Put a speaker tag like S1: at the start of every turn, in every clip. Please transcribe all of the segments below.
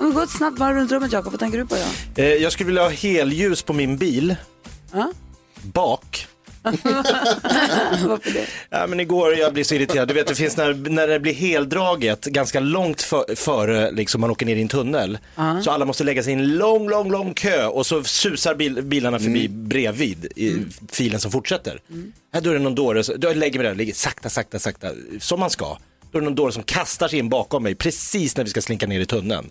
S1: Om vi går ett snabbt varv runt rummet Jakob, vad tänker du på idag?
S2: Eh, jag skulle vilja ha helljus på min bil.
S1: Ja?
S2: Bak.
S1: Varför det?
S2: Ja, men igår jag blev så irriterad. Du vet det finns när, när det blir heldraget ganska långt för, före liksom, man åker ner i en tunnel. Så alla måste lägga sig i en lång, lång, lång kö och så susar bil, bilarna förbi bredvid i filen som fortsätter. Här då är det någon dåre, som- då lägger mig där och ligger sakta, sakta, sakta som man ska. Då är det någon dåre som kastar sig in bakom mig precis när vi ska slinka ner i tunneln.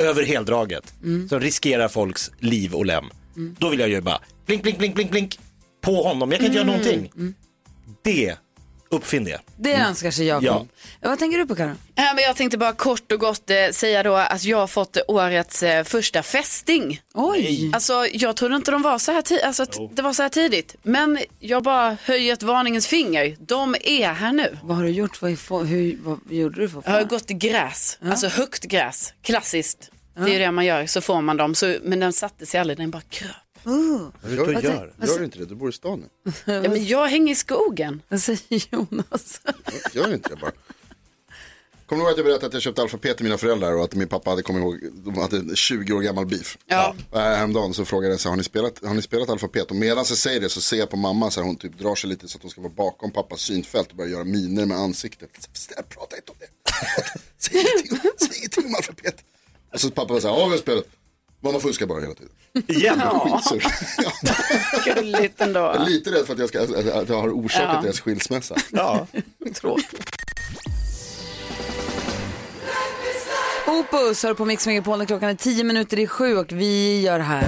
S2: Över heldraget. Som riskerar folks liv och lem. Då vill jag ju bara blink, blink, blink, blink, blink på honom. Jag kan inte göra någonting. Det, uppfinn det.
S1: Det önskar sig Jakob.
S2: Ja.
S1: Ja, Vad tänker du på Karo?
S3: Ja, men jag tänkte bara kort och gott eh, säga då att jag har fått årets eh, första fästing.
S1: Oj!
S3: Alltså jag trodde inte de var så här, ti- alltså, att det var så här tidigt. Men jag bara höjer ett varningens finger. De är här nu.
S1: Vad har du gjort? Vad, är få- hur, vad gjorde du för att få?
S3: Jag har gått i gräs, alltså högt gräs, klassiskt. Det är ju det man gör, så får man dem. Så, men den satte sig aldrig, den bara kröp.
S4: Gör, gör,
S2: och gör.
S4: gör inte det, du bor i stan nu.
S3: Ja, men jag hänger i skogen.
S1: Vad säger Jonas?
S4: Gör inte det bara. Kommer du ihåg att jag berättade att jag köpte alfabet till mina föräldrar och att min pappa hade kommit ihåg, de hade en 20 år gammal beef.
S3: Ja.
S4: Och här Häromdagen så frågade jag så här, har ni spelat, har ni spelat alfabet? Och medan jag säger det så ser jag på mamma så här, hon typ drar sig lite så att hon ska vara bakom pappas synfält och börjar göra miner med ansiktet. Snälla prata inte om det. Säg ingenting, säg ingenting om alfabet. Och så pappa var så här, ja vi har spelat. Mamma fuskar bara hela tiden.
S2: Igen.
S4: Skitsur. Ja.
S3: Gulligt
S4: Jag är
S3: ändå.
S4: lite rädd för att jag, ska, att- att jag har orsakat deras skilsmässa.
S2: Ja.
S1: Opus hör på Mix Megapol när klockan är tio minuter i sju och vi gör här.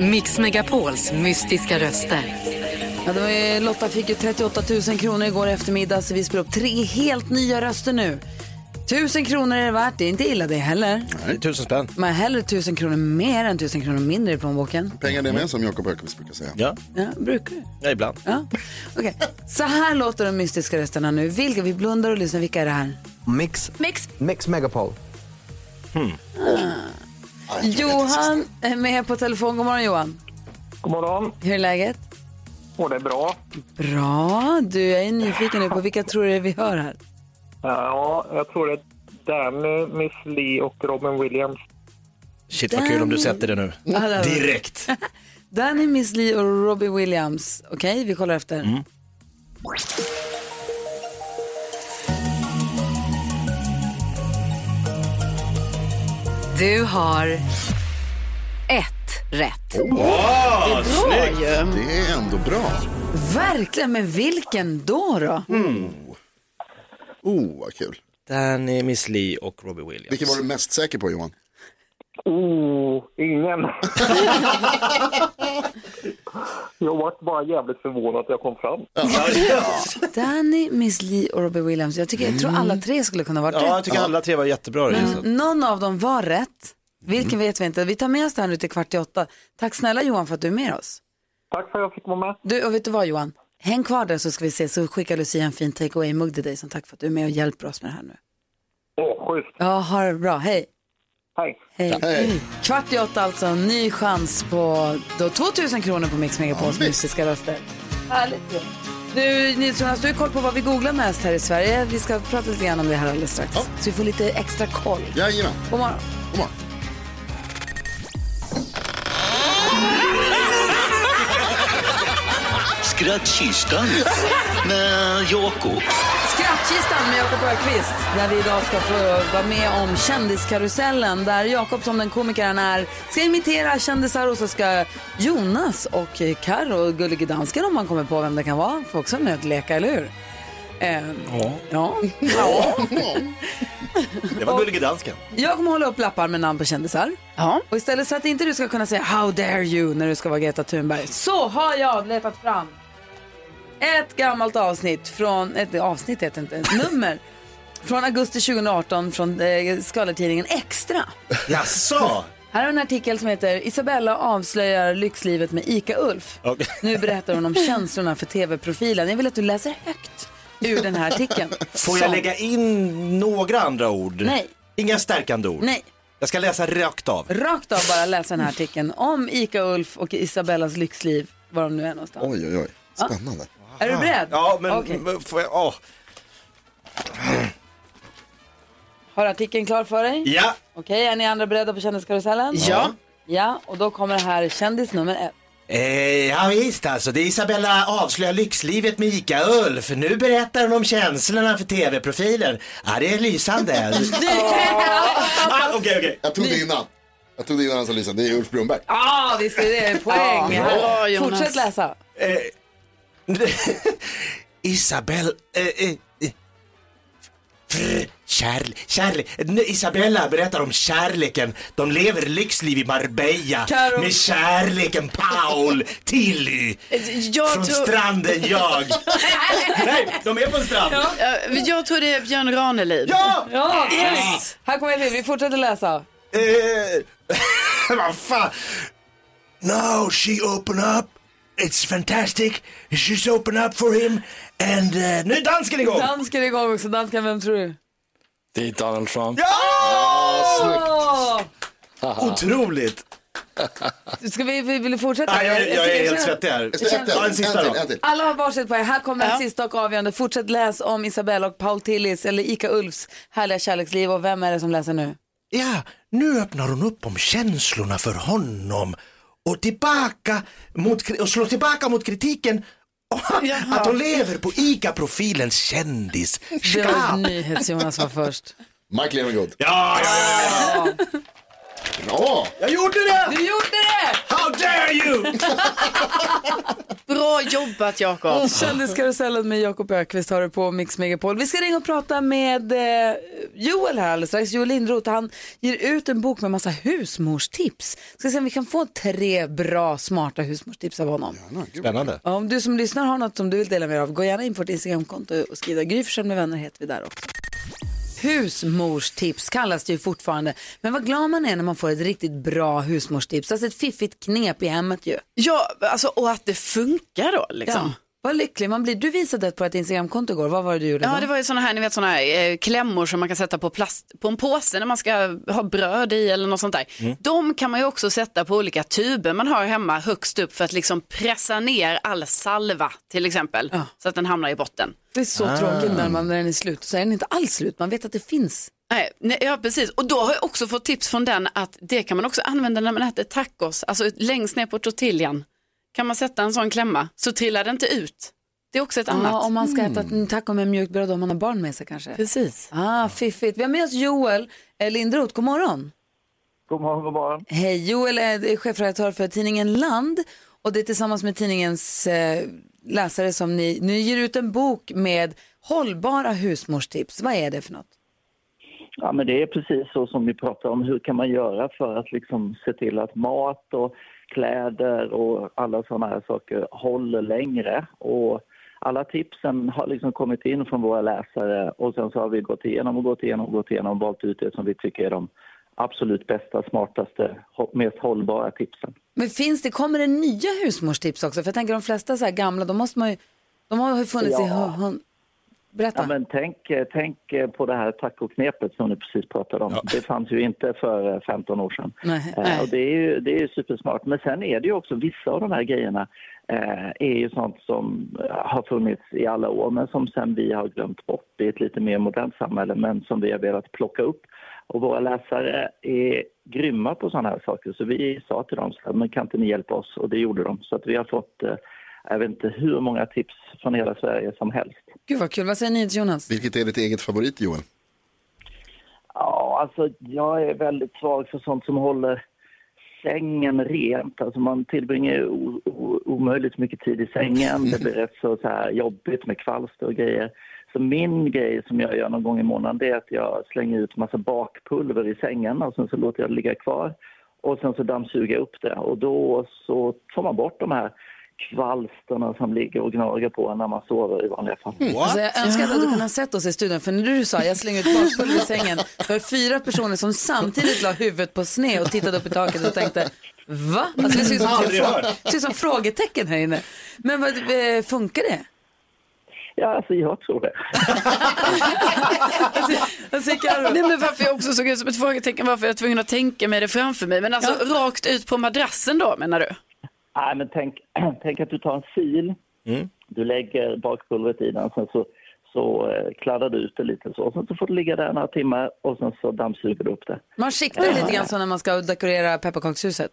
S5: Mix Megapols mystiska röster.
S1: Ja, det var ju, Lotta fick ju 38 000 kronor igår eftermiddag så vi spelar upp tre helt nya röster nu. Tusen kronor är det värt, det är inte illa det heller.
S2: Nej, Tusen spänn.
S1: Man har hellre tusen kronor mer än tusen kronor mindre i plånboken.
S4: Pengar det med som Jakob Högqvist brukar säga.
S2: Ja,
S1: Ja, brukar du?
S2: ja ibland.
S1: Ja. Okej. Så här låter de mystiska rösterna nu. Vilka, vi blundar och lyssnar. Vilka är det här?
S6: Mix. Mix. Mix Megapol.
S1: Johan är med på telefon. God morgon Johan.
S7: God morgon.
S1: Hur är läget?
S7: Och det är bra.
S1: Bra. Du, jag är nyfiken nu på vilka tror du det är vi hör här?
S7: Ja, jag tror det är Danny, Miss Li och Robin Williams.
S2: Shit vad kul om du sätter det nu.
S1: det var-
S2: Direkt.
S1: Danny, Miss Li och Robbie Williams. Okej, vi kollar efter.
S5: Du har ett rätt.
S3: Bra ju.
S4: Det är ändå bra.
S1: Verkligen, men vilken då? då?
S4: Oh, vad kul.
S2: Danny, Miss Li och Robbie Williams.
S4: Vilken var du mest säker på Johan?
S7: Oh, ingen. jag vart bara jävligt förvånad att jag kom fram.
S1: Danny, Miss Li och Robbie Williams. Jag, tycker, jag tror alla tre skulle kunna vara
S2: Ja, jag
S1: rätt.
S2: tycker alla tre var jättebra.
S1: Men
S2: Lisa.
S1: någon av dem var rätt. Vilken vet vi inte. Vi tar med oss det här nu till kvart i åtta. Tack snälla Johan för att du är med oss.
S7: Tack för att jag fick vara med.
S1: Du, och vet du vad Johan? Häng kvar där så ska vi se, så skickar Lucia en fin take away-mugg till dig som tack för att du är med och hjälper oss med det här nu.
S7: Åh, schysst.
S1: Ja, ha det bra. Hej.
S7: Hej.
S1: Hej.
S4: Hej.
S1: Eh, Kvart i åtta alltså, en ny chans på då, 2000 kronor på Mix Megapols
S4: Ja, visst.
S1: mystiska röster. Härligt ju. Du, Nils-Jonas, du har koll på vad vi googlar mest här i Sverige. Vi ska prata lite grann om det här alldeles strax.
S4: Ja.
S1: Så vi får lite extra koll.
S4: Jajamän,
S1: God morgon.
S4: kom on.
S8: Skrattkistan med Jakob.
S1: Skrattkistan med Jakob Ökvist där vi idag ska få vara med om kändiskarusellen där Jakob som den komiker han är ska imitera kändisar och så ska Jonas och Karo och Gullige Dansken om man kommer på vem det kan vara få också med att leka, eller hur? Eh, ja. ja.
S2: Det var Gullige Dansken.
S1: Jag kommer hålla upp lappar med namn på kändisar.
S3: Ja.
S1: Och istället för att inte du ska kunna säga How dare you när du ska vara Greta Thunberg så har jag letat fram ett gammalt avsnitt från, ett avsnitt heter inte, ett nummer från augusti 2018 från eh, skvallertidningen Extra.
S2: Jaså?
S1: Här har en artikel som heter Isabella avslöjar lyxlivet med ICA-Ulf.
S2: Okej.
S1: Nu berättar hon om känslorna för tv-profilen. Jag vill att du läser högt ur den här artikeln.
S2: Får jag
S1: Som-
S2: lägga in några andra ord?
S1: Nej.
S2: Inga stärkande ord?
S1: Nej.
S2: Jag ska läsa rakt av.
S1: Rakt av bara läsa den här artikeln om ICA-Ulf och Isabellas lyxliv, var de nu är någonstans.
S4: Oj, oj, oj. Spännande.
S1: Är du beredd?
S2: Ah. Ja, men
S1: Okej.
S2: men får jag, åh.
S1: Har artikeln klar för dig?
S2: Ja,
S1: Okej, är ni andra beredda på kändiskarusellen?
S3: Ja.
S1: Ja, och då kommer här kändis nummer ett.
S2: Eh, ja visst alltså, det är Isabella avslöjar lyxlivet med ICA-Ulf. Nu berättar hon om känslorna för TV-profilen. Ja, det är lysande. ah, okej, okej.
S4: Jag tog det innan. Jag tog det innan han sa Lisa. Det är Ulf Brunnberg.
S1: Ja, visst är det poäng.
S3: Bra, Jonas.
S1: Fortsätt läsa.
S2: Isabel... Eh, eh, eh. Fr- Kärl, kärlek. Isabella berättar om kärleken. De lever lyxliv i Marbella
S1: Karo-
S2: med kärleken Paul Tilly.
S3: Jag
S2: Från
S3: tror,
S2: stranden jag. Nej, de är på en strand.
S3: eh, jag tror det är Björn Ranelid.
S2: Ja!
S1: Ja, yes. Här kommer jag till. Vi fortsätter läsa.
S2: Eh, vad fan. Now she open up. It's fantastic. She's open up for him. And eh, nu är dansken igång!
S1: Dansken är igång också. Dansken, vem tror du?
S9: Det är Donald Trump.
S1: Åh!
S2: Otroligt!
S1: Ska vi, vi vill fortsätta?
S2: Nej, jag, jag är helt svettig här.
S4: Just det, En till,
S2: Ja, en
S4: en
S2: sista
S4: till,
S2: då.
S4: en till.
S1: Alla har varsitt poäng. Här kommer
S3: Ja.
S1: en sista och avgörande. Fortsätt läs om Isabella och Paul Tillis eller Ika Ulfs härliga kärleksliv. Och vem är det som läser nu?
S2: Ja, nu öppnar hon upp om känslorna för honom och, tillbaka mot, och slår tillbaka mot kritiken att hon lever på ICA-profilens kändis.
S1: Det var
S2: Ja,
S1: NyhetsJonas var först.
S4: Mike Levengood.
S2: ja, ja, ja.
S4: Bra!
S2: Jag gjorde det!
S1: Du gjorde det!
S2: How dare you!
S3: Bra jobbat Jakob.
S1: Mm. Kändiskarusellen med Jakob Ökvist har du på Mix Megapol. Vi ska ringa och prata med eh, Joel här alldeles strax. Joel Lindroth, han ger ut en bok med massa husmorstips. Ska se om vi kan få tre bra smarta husmorstips av honom.
S2: Spännande.
S1: Ja, Om du som lyssnar har något som du vill dela med dig av, gå gärna in på vårt Instagramkonto och skriv där. Gry Forssell med vänner heter vi där också. Husmorstips kallas det ju fortfarande. Men vad glad man är när man får ett riktigt bra husmorstips. Alltså ett fiffigt knep i hemmet ju.
S3: Ja, alltså, och att det funkar då
S1: Ja.
S3: liksom.
S1: Vad lycklig man blir. Du visade ett på ett Instagramkonto igår. Vad var det du gjorde
S3: Ja,
S1: då?
S3: det var ju sådana här, ni vet sådana här eh, klämmor som man kan sätta på, plast, på en påse när man ska ha bröd i eller något sånt där.
S1: Mm.
S3: De kan man ju också sätta på olika tuber man har hemma högst upp för att liksom pressa ner all salva till exempel så att den hamnar i botten.
S1: Det är så tråkigt när, man, när den är slut. Så är den inte alls slut. Man vet att det finns.
S3: Nej, nej, ja precis, och då har jag också fått tips från den att det kan man också använda när man äter tacos, alltså längst ner på tortillan kan man sätta en sån klämma så trillar det inte ut. Det är också ett annat.
S1: Ja, om man ska äta ett taco med mjukt bröd om man har barn med sig kanske.
S3: Precis.
S1: Ah, fiffigt. Vi har med oss Joel eh, Lindroth. God morgon.
S7: God morgon, god morgon.
S1: Hej, Joel eh, är chefredaktör för tidningen Land och det är tillsammans med tidningens eh, läsare som ni, ni ger ut en bok med hållbara husmorstips. Vad är det för något?
S7: Ja, men det är precis så som ni pratar om. Hur kan man göra för att liksom se till att mat och kläder och alla sådana här saker håller längre? Och alla tipsen har liksom kommit in från våra läsare och sen så har vi gått igenom och gått igenom och gått igenom och valt ut det som vi tycker är de absolut bästa, smartaste, hå- mest hållbara tipsen.
S1: Men finns det, kommer det nya husmorstips också? För jag tänker de flesta så här gamla, de måste man ju, de har ju funnits i,
S7: Ja.
S1: hon, hon, berätta.
S7: Ja, men tänk, eh, tänk eh, på det här tacoknepet som du precis pratade om. Det fanns ju inte för eh, 15 år sedan.
S1: Nej,
S7: Eh, Och det, är ju, det är ju supersmart. Men sen är det ju också vissa av de här grejerna eh, är ju sånt som eh, har funnits i alla år men som sen vi har glömt bort i ett lite mer modernt samhälle men som vi har velat plocka upp. Och våra läsare är grymma på sådana här saker så vi sa till dem så här, men kan inte ni hjälpa oss? Och det gjorde de. Så att vi har fått eh, jag vet inte hur många tips från hela Sverige som helst.
S1: Gud vad kul, vad säger ni till Jonas?
S4: Vilket är ditt eget favorit Joel?
S7: Ja, alltså jag är väldigt svag för sånt som håller sängen rent. Alltså man tillbringar ju o- o- omöjligt mycket tid i sängen. Det blir rätt så, så här jobbigt med kvalster och grejer. Så min grej som jag gör någon gång i månaden det är att jag slänger ut massa bakpulver i sängen och sen så låter jag det ligga kvar. Och sen så dammsuger jag upp det och då så får man bort de här kvalsterna som ligger och gnager på en när man sover i vanliga fall.
S1: Alltså, jag önskar att du hade kunnat sett oss i studion för när du sa jag slänger ut bakpulver i sängen var det fyra personer som samtidigt la huvudet på sned och tittade upp i taket och tänkte va? Alltså, det ser ut som,
S7: Aldrig
S1: frå-
S7: hört.
S1: det ser ut som frågetecken här inne. Men vad, eh, funkar det?
S7: Ja, alltså jag tror det.
S3: Nej, men varför jag också såg ut som ett frågetecken, varför jag var tvungen att tänka mig det framför mig. Men alltså rakt ut på madrassen då menar du?
S7: Nej, men tänk, tänk att du tar en fil, du lägger bakpulvret i den, sen så, så eh, kladdar du ut det lite så. Sen så får det ligga där några timmar och sen så dammsuger du upp det.
S1: Man siktar lite grann så när man ska dekorera pepparkakshuset.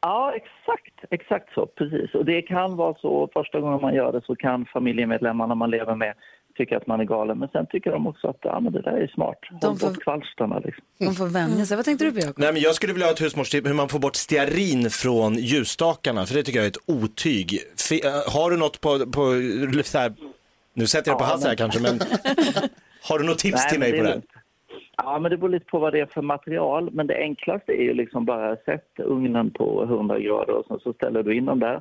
S7: Ja, exakt. Exakt så, precis. Och det kan vara så, första gången man gör det så kan familjemedlemmarna man lever med tycka att man är galen, men sen tycker de också att ja, men det där är smart. Håll bort kvalsterna liksom.
S1: De får vänja sig. Vad tänkte du på Jakob?
S2: Nej, men jag skulle vilja ha ett husmorstips hur man får bort stearin från ljusstakarna, för det tycker jag är ett otyg. Fe- äh, har du något på, på så här, nu sätter jag det på
S7: Ja,
S2: halsen här
S7: men-
S2: kanske, men har du något tips
S7: Nej,
S2: till
S7: men
S2: mig
S7: det
S2: på
S7: är
S2: det? här?
S7: lugnt. Ja, men det beror lite på vad det är för material. Men det enklaste är ju liksom bara sätt ugnen på 100 grader och sen så ställer du in dem där.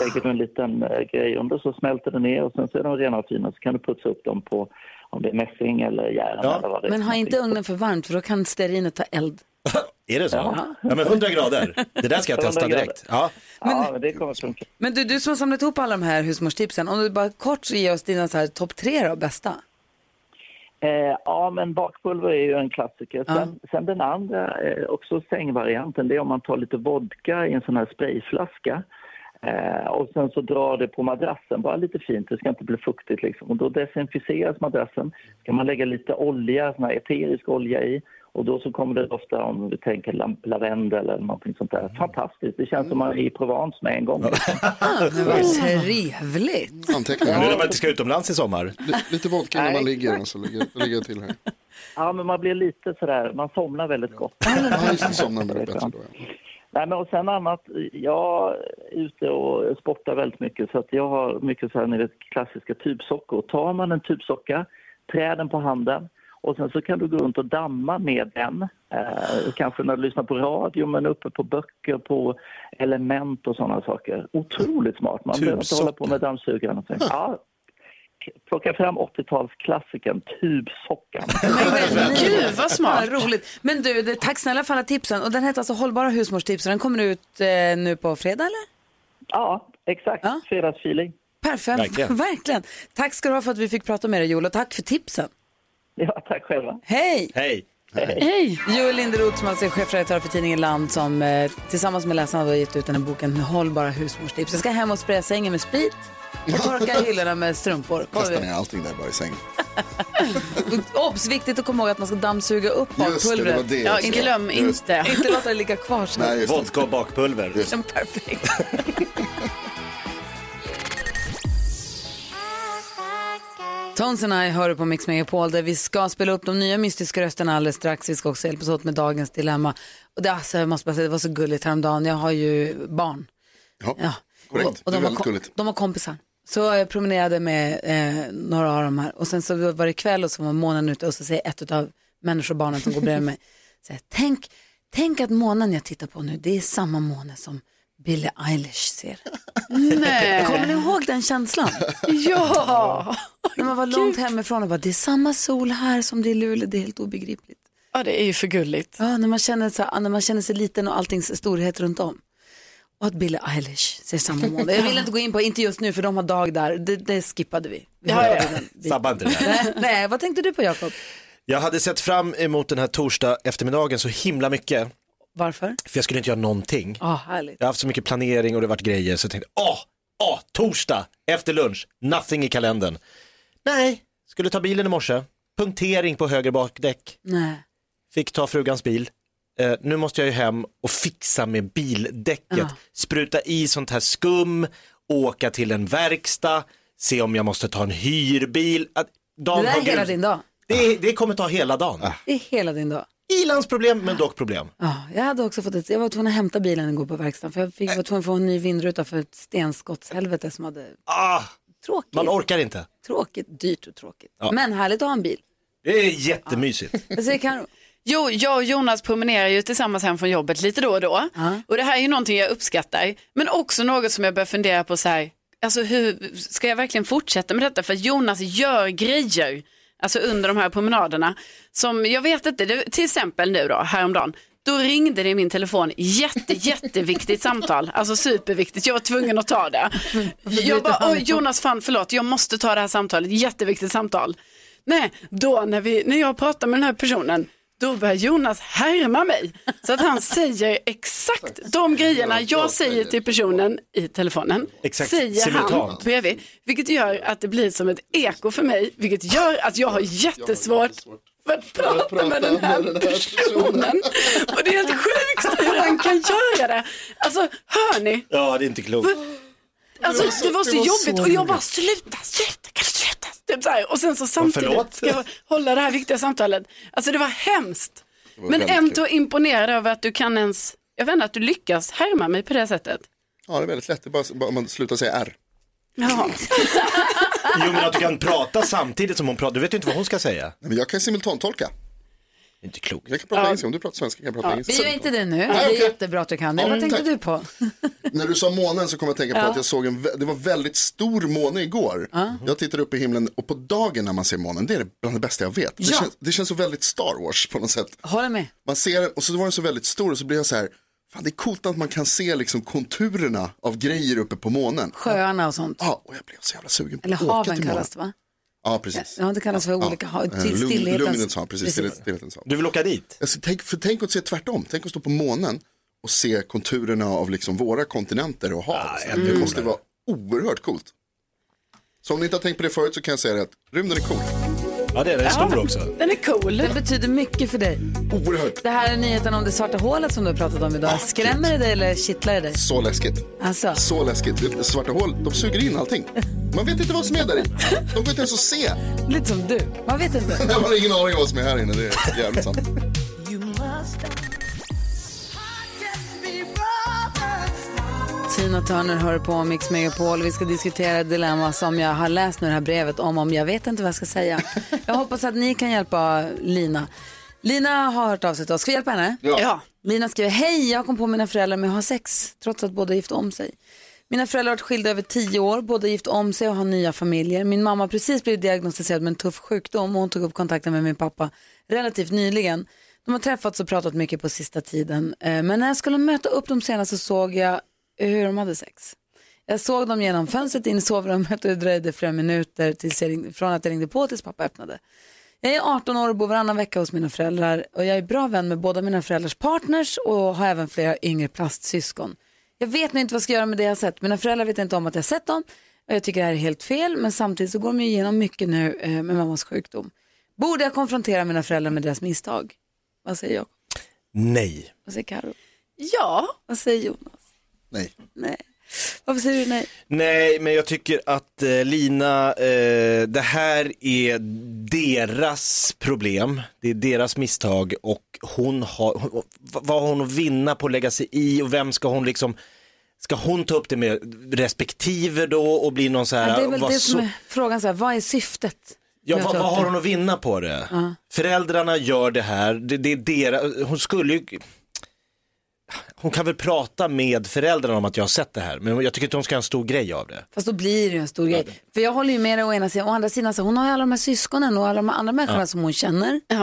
S7: Lägger du en liten eh, grej under så smälter det ner och sen så är de rena och fina. Så kan du putsa upp dem på om det är mässing eller järn eller vad det är.
S1: Men ha
S7: för
S1: inte ugnen för varmt för då kan stearinet ta eld.
S2: Är det så? Ja. men 100 grader. Det där ska jag
S7: 100
S2: testa
S7: grader.
S2: direkt. Ja.
S7: någonting. Ja, men det kommer funka.
S1: Men du, du som har samlat ihop alla de här husmorstipsen, om du bara kort ger oss dina så här topp tre då, bästa.
S7: Eh, ja, men bakpulver är ju en klassiker. Sen, sen den andra, eh, också sängvarianten, det är om man tar lite vodka i en sån här sprayflaska eh, och sen så drar det på madrassen, bara lite fint, det ska inte bli fuktigt liksom. Och då desinficeras madrassen, ska man lägga lite olja, sån här eterisk olja i och då så kommer det ofta om vi tänker lam- lavendel eller någonting sånt där. Fantastiskt, det känns som man är i Provence med en
S4: Mm.
S7: gång.
S1: Vad trevligt.
S4: Anteckningar.
S2: Nu när man inte ska utomlands i sommar.
S4: Li- Lite vodka när man
S7: Nej,
S4: ligger, alltså, ligger, ligger jag till här.
S7: Ja, men man blir lite sådär, man somnar väldigt gott.
S4: Ja, just det, somnar med det bättre då. ja.
S7: Nej, men och sen annat, jag är ute och sportar väldigt mycket så att jag har mycket så här, ni vet, klassiska tubsockor. Tar man en tubsocka, trär den på handen och sen så kan du gå runt och damma med den. Eh, kanske när du lyssnar på radio men uppe på böcker, på element och sådana saker. Otroligt smart, man behöver inte hålla på med dammsugaren. och sånt. Ja, plocka fram 80-talsklassikern tubsockan.
S3: Gud vad smart.
S1: Vad roligt. Men du, det, tack snälla för alla tipsen. Och den heter alltså Hållbara husmorstips och den kommer ut eh, nu på fredag eller?
S7: Ja, exakt. Fredagsfeeling.
S1: Perfekt, verkligen.
S2: Verkligen.
S1: Tack ska du ha för att vi fick prata med dig Joel och tack för tipsen.
S7: Ja, tack själva.
S1: Hej!
S2: Hej.
S3: Hej.
S1: Joel Linderoth som alltså är chefredaktör för tidningen Land som eh, tillsammans med läsarna då har gett ut den här boken Hållbara husmorstips. Jag ska hem och spraya sängen med sprit och torka hyllorna med strumpor. Kom,
S4: Kasta
S1: vi-
S4: ner allting där bara i sängen.
S1: Obs! Viktigt att komma ihåg att man ska dammsuga upp
S4: Just det, det var
S1: bakpulvret.
S4: det
S3: Ja,
S4: också.
S3: glöm
S4: Just-
S3: inte.
S1: Inte låta det ligga kvar så.
S4: Nej, just det.
S2: Vodka och bakpulver.
S1: Perfekt. Tones and I hör du på Mix Megapol där vi ska spela upp de nya mystiska rösterna alldeles strax. Vi ska också hjälpas åt med dagens dilemma. Och det, alltså, jag måste bara säga, det var så gulligt häromdagen. Jag har ju barn.
S4: Ja, korrekt. det
S1: Och de,
S4: är
S1: var
S4: väldigt
S1: kom-
S4: gulligt.
S1: de var kompisar. Så jag promenerade med eh, några av dem här och sen så var det kväll och så var månen ute och så säger ett av människobarnen som går bredvid mig, så här, tänk, tänk att månen jag tittar på nu, det är samma måne som Billie Eilish ser. Kommer
S3: Nej.
S1: ni ihåg den känslan?
S3: Ja.
S1: När man var långt hemifrån och bara, det är samma sol här som det är i Luleå, det är helt obegripligt.
S3: Ja det är ju för gulligt.
S1: Ja, när man känner, så här, när man känner sig liten och alltings storhet runt om. Och att Billie Eilish ser samma måne. Jag vill inte gå in på, inte just nu för de har dag där, det, det skippade vi. vi
S3: Ja, ja, ja.
S1: hoppade den biten.
S2: Sabba inte det där.
S1: Nej, Nej, vad tänkte du på Jakob?
S2: Jag hade sett fram emot den här torsdag eftermiddagen så himla mycket,
S1: Varför?
S2: för jag skulle inte göra någonting.
S1: Ja, härligt.
S2: Jag har haft så mycket planering och det har varit grejer så jag tänkte, åh, åh, torsdag efter lunch, nothing i kalendern. Nej, skulle ta bilen i morse, punktering på höger bakdäck,
S1: Nej.
S2: fick ta frugans bil. Eh, nu måste jag ju hem och fixa med bildäcket,
S1: Ja.
S2: spruta i sånt här skum, åka till en verkstad, se om jag måste ta en hyrbil. Att,
S1: Det
S2: dagen
S1: där är
S2: har
S1: hela
S2: gud-
S1: din dag.
S2: det, det kommer ta hela dagen.
S1: Det är hela din dag.
S2: Ilans problem, men dock problem.
S1: Ja, jag hade också fått ett, jag var tvungen att hämta bilen igår på verkstaden för jag fick, var tvungen att få en ny vindruta för ett stenskottshelvete som hade
S2: Ah,
S1: tråkigt,
S2: man orkar inte.
S1: tråkigt, dyrt och tråkigt. Men härligt att ha en bil.
S2: Det är jättemysigt.
S1: Ah. Vad säger Karo?
S3: Jo, jag och Jonas promenerar ju tillsammans hem från jobbet lite då och då. Och det här är ju någonting jag uppskattar. Men också något som jag börjar fundera på så här, alltså hur ska jag verkligen fortsätta med detta? För att Jonas gör grejer, alltså under de här promenaderna. Som jag vet inte, det, till exempel nu då, häromdagen. Då ringde det i min telefon, jätte, jätteviktigt samtal, alltså superviktigt, jag var tvungen att ta det. Jag bara, "Oj, Jonas fan förlåt, jag måste ta det här samtalet, jätteviktigt samtal. Nej, då när, vi, när jag pratar med den här personen, då börjar Jonas härma mig. Så att han säger exakt de grejerna jag säger till personen i telefonen.
S2: Exakt,
S3: Säger han
S2: simultant.
S3: bredvid. Vilket gör att det blir som ett eko för mig. Vilket gör att jag har jättesvårt för att prata med den här personen. Och det är helt sjukt hur han kan göra det. Alltså, hör ni?
S2: Ja, det är inte klokt.
S3: Alltså,
S2: Det var
S3: det, var
S2: så-
S3: så,
S2: det var så
S3: jobbigt och jag
S2: roligt.
S3: bara sluta, sluta, kan du sluta? Typ så här. Och sen så
S2: förlåt.
S3: samtidigt ska jag hålla det här viktiga samtalet. Alltså det var hemskt.
S4: Det var
S3: Men
S4: väldigt
S3: ändå imponerad över att du kan ens, jag vet inte, att du lyckas härma mig på det sättet.
S4: Ja, det är väldigt lätt. Det är bara, bara om man slutar säga R.
S3: Ja.
S2: Jo, men att du kan prata samtidigt som hon pratar. Du vet ju inte vad hon ska säga.
S4: Nej, men jag kan simultantolka.
S2: Det är inte klokt.
S4: Jag kan prata engelska. Om du pratar svenska kan jag prata engelska.
S1: Vi gör inte det nu. Det
S4: Nej,
S1: är
S4: okej.
S1: jättebra att du kan det.
S4: Ja,
S1: Vad tänkte
S4: tack.
S1: du på?
S4: När du sa månen så kom jag att tänka på att jag såg en, vä- det var väldigt stor måne igår. Jag tittade upp i himlen och på dagen när man ser månen, det är det bland det bästa jag vet. Det,
S1: Ja.
S4: känns, det känns så väldigt Star Wars på något sätt.
S1: Håller med.
S4: Man ser den och så var den så väldigt stor och så blir jag så här, fan det är coolt att man kan se liksom konturerna av grejer uppe på månen.
S1: Sjöarna och sånt.
S4: Ja, och jag blev så jävla sugen på
S1: Eller
S4: att åka
S1: haven
S4: till månen.
S1: kallas det va?
S4: Ja, precis.
S1: Ja, det kallas för olika hav. Till
S4: Lugn- Lugnets
S1: stillhetens
S4: hav, precis. Stillhet- Stillhetens hav.
S2: Du vill åka dit?
S4: Alltså, tänk, för tänk att se tvärtom, tänk att stå på månen och se konturerna av liksom våra kontinenter och hav.
S2: ännu
S4: det
S2: coolare.
S4: måste vara oerhört coolt. Så om ni inte har tänkt på det förut så kan jag säga det att rymden är cool.
S2: Ja, det är det. Den är stor också.
S3: Den är cool.
S1: Det betyder mycket för dig.
S4: Oerhört.
S1: Det här är nyheten om det svarta hålet som du har pratat om idag. Skrämmer det dig eller kittlar det dig?
S4: Så läskigt.
S1: Alltså,
S4: Så läskigt. Det- Svarta hål, de suger in allting. Man vet inte vad som är där inne. De går inte ens att se.
S1: lite som du. Man vet inte.
S4: Man har ingen aning om vad som är här inne. Det är jävligt sant.
S1: Tina Turner hör på Mix Megapol. Vi ska diskutera ett dilemma som jag har läst nu i det här brevet om, om jag vet inte vad jag ska säga. Jag hoppas att ni kan hjälpa Lina. Lina har hört av sig till oss. Ska vi hjälpa henne?
S3: Ja.
S1: Lina skriver, hej, jag kom på mina föräldrar med att ha sex, trots att båda gift om sig. Mina föräldrar har varit skilda över tio år, båda gift om sig och har nya familjer. Min mamma har precis blivit diagnostiserad med en tuff sjukdom och hon tog upp kontakten med min pappa relativt nyligen. De har träffats och pratat mycket på sista tiden, Eh, men när jag skulle möta upp dem senast så såg jag hur de hade sex. Jag såg dem genom fönstret in i sovrummet och det dröjde flera minuter tills jag ringde, från att jag ringde på tills pappa öppnade. Jag är 18 år och bor varannan vecka hos mina föräldrar och jag är bra vän med båda mina föräldrars partners och har även flera yngre plastsyskon. Jag vet nu inte vad jag ska göra med det jag har sett. Mina föräldrar vet inte om att jag har sett dem och jag tycker det här är helt fel men samtidigt så går de ju igenom mycket nu eh, med mammas sjukdom. Borde jag konfrontera mina föräldrar med deras misstag? Vad säger jag?
S2: Nej.
S1: Vad säger Karo?
S3: Ja,
S1: Vad säger Jonas?
S4: Nej.
S1: Nej. Varför säger du nej?
S2: Nej, men jag tycker att eh, Lina, eh, det här är deras problem, det är deras misstag och hon har, hon- vad har hon att vinna på att lägga sig i och vem ska hon liksom, ska hon ta upp det med respektive då och bli någon så här,
S1: Ja, det är väl
S2: Äh, vad
S1: det som
S2: så-
S1: är frågan, så här, vad är syftet?
S2: Ja,
S1: med att
S2: vad,
S1: ta upp
S2: vad har
S1: det?
S2: hon att vinna på det? Föräldrarna gör det här, det, det är deras, hon skulle ju... Hon kan väl prata med föräldrarna om att jag har sett det här, men jag tycker inte hon ska ha en stor grej av det.
S1: Fast då blir det ju en stor grej. För jag håller ju med dig å ena sidan. Å andra sidan, så hon har ju alla de här syskonen och alla de här andra människorna som hon känner.
S3: ja.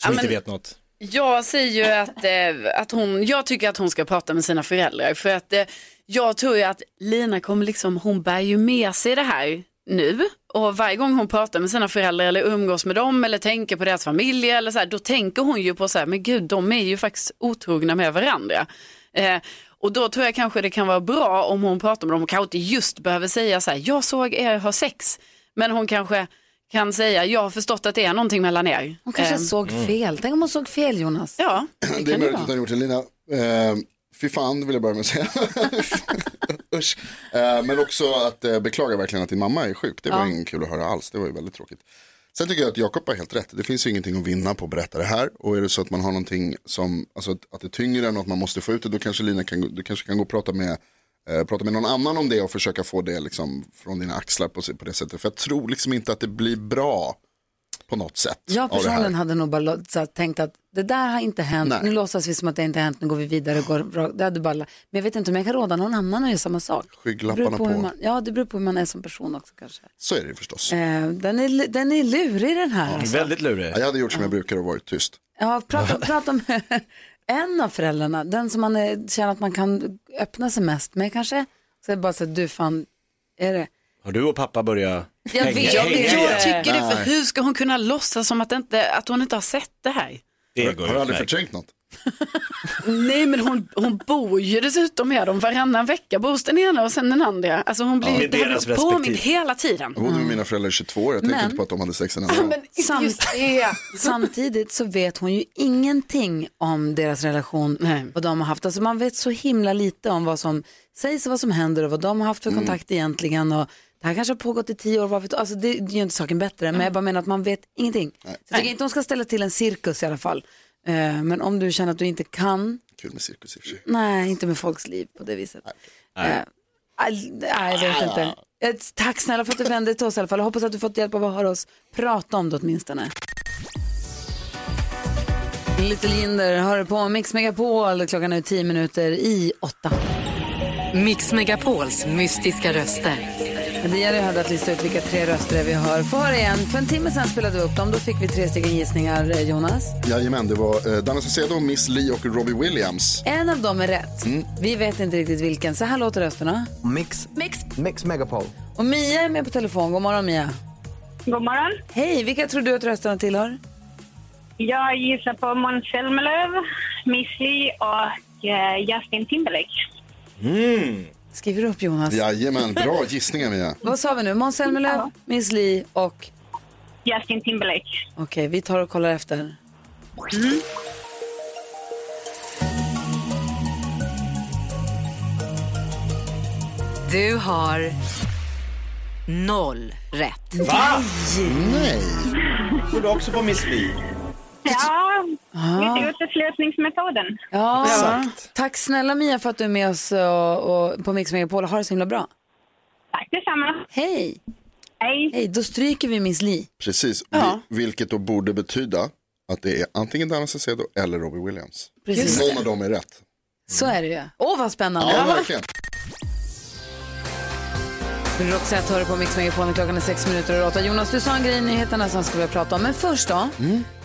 S2: Som
S3: men-
S2: inte vet något.
S3: Jag säger ju att, eh, att hon, jag tycker att hon ska prata med sina föräldrar för att eh, jag tror ju att Lina kommer liksom, hon bär ju med sig det här nu och varje gång hon pratar med sina föräldrar eller umgås med dem eller tänker på deras familj eller så här, då tänker hon ju på så här, men gud de är ju faktiskt otrogna med varandra. Eh, och då tror jag kanske det kan vara bra om hon pratar med dem och kanske inte just behöver säga så här, jag såg er ha sex, men hon kanske kan säga, jag har förstått att det är någonting mellan er.
S1: Hon kanske
S3: Eh,
S1: såg
S2: Mm.
S1: fel. Tänk om hon såg fel Jonas.
S3: Ja.
S4: Det,
S1: kan
S4: är
S1: det
S4: möjligt
S1: vara.
S4: att du har gjort det Lina. Uh, fy fan, det vill jag börja med att säga. Usch. Eh, men också att uh, beklaga verkligen att din mamma är sjuk. Det var ingen kul att höra alls. Det var ju väldigt tråkigt. Sen tycker jag att Jakob har helt rätt. Det finns ju ingenting att vinna på att berätta det här. Och är det så att man har någonting som, alltså att, att det tynger en och att man måste få ut det, då kanske Lina kan, gå- du kanske kan gå och prata med, eh, prata med någon annan om det och försöka få det liksom från dina axlar på, på det sättet. För jag tror liksom inte att det blir bra på något sätt.
S1: Jag
S4: av det här.
S1: personligen hade nog bara lo- så här, tänkt att det där har inte hänt,
S4: Nej.
S1: nu låtsas vi som att det inte har hänt, nu går vi vidare. och Går, bra. det hade bara, men jag vet inte om jag kan råda någon annan att göra samma sak. Det beror
S4: Skygglapparna
S1: på
S4: på.
S1: hur man, ja, det beror på hur man är som person också kanske.
S4: Så är det ju förstås.
S1: Eh, den, är, lu- den är lurig den här. alltså.
S2: Väldigt lurig.
S4: Ja, jag hade gjort som jag brukar och varit tyst.
S1: Ja, prata, prata med en av föräldrarna, den som man är, känner att man kan öppna sig mest med kanske. Så är det bara så att du fan, är det?
S2: Har du och pappa börjat
S1: Jag
S2: hänga-
S1: vet, jag
S2: hänga
S1: vet.
S2: igen?
S3: Jag tycker det, för
S4: Nej.
S3: hur ska hon kunna låtsas som att, det inte, att hon inte har sett det här?
S2: Det går
S4: Har du
S2: ju
S4: aldrig
S2: utmärkt.
S4: förträngt något?
S3: Nej men hon, hon bor ju dessutom med dem varannan vecka, bor hos den ena och sen den andra. Alltså hon blir
S2: Ja.
S3: ju
S2: Med deras
S3: ja. påmind
S2: respektive.
S3: hela tiden.
S4: Jag bodde med mina föräldrar i 22 år, jag tänkte
S1: Men-
S4: inte på att de hade sex en
S3: Ja,
S4: annan gång.
S3: Men inte just
S1: Samt-
S3: det.
S1: Samtidigt så vet hon ju ingenting om deras relation,
S3: Nej.
S1: vad de har haft. Alltså man vet så himla lite om vad som sägs och vad som händer och vad de har haft för kontakt egentligen. Och det här kanske har pågått i tio år, vad vet du? Alltså det gör ju inte saken bättre, men jag bara menar att man vet ingenting. Så jag tycker inte hon ska ställa till en cirkus i alla fall. Eh, Men om du känner att du inte kan,
S4: Kul med cirkus i och för sig.
S1: nej, inte med folks liv på det viset. Nej, nej jag vet inte. Eh, Tack snälla för att du vände dig till oss i alla fall. Jag hoppas att du fått hjälp av att höra oss prata om det åtminstone. Little Jinder hör på Mix Megapol. Klockan är tio minuter i åtta.
S5: Mix Megapols mystiska röster.
S1: Men Det gäller ju här att lista ut vilka tre röster det är vi hör. Få höra igen. För en timme sedan spelade vi upp dem. Då fick vi tre stycken gissningar, eh, Jonas.
S4: Jajamän, det var eh, Danne Saucedo, Miss Li och Robbie Williams.
S1: En av dem är rätt. Vi vet inte riktigt vilken. Så här låter rösterna.
S6: Mix. Mix. Mix Megapol.
S1: Och Mia är med på telefon. God morgon Mia.
S10: God morgon.
S1: Hej, vilka tror du att rösterna tillhör?
S10: Jag gissar på Måns Zelmerlöw, Miss Li och eh, Justin Timberlake.
S1: Skriver du upp Jonas?
S4: Jajamän, bra gissningar Mia.
S1: Vad sa vi nu? Måns Zelmerlöw, Miss Li och...
S10: Justin Timberlake.
S1: Okej, vi tar och kollar efter.
S10: Mm.
S5: Du har noll rätt.
S2: Va?
S4: Nej,
S2: Går du också på Miss Li?
S10: Ja, lite uteslutningsmetoden.
S1: Ja.
S2: Exakt.
S1: Tack snälla Mia för att du är med oss och, och på Mix Megapol. Ha det så himla bra.
S10: Tack detsamma.
S1: Hej!
S10: Hej.
S1: Hej, då stryker vi Miss Li.
S4: precis. Vi, vilket då borde betyda att det är antingen Danne Saucedo eller Robbie Williams.
S1: Precis.
S4: Någon av dem är rätt.
S1: Så är det ju. Åh, vad spännande.
S4: Ja, verkligen.
S1: Roxette hör på Mix Megapol när klockan är sex minuter över åtta. Jonas, du sa en grej i nyheterna som ska vi prata om. Men först då.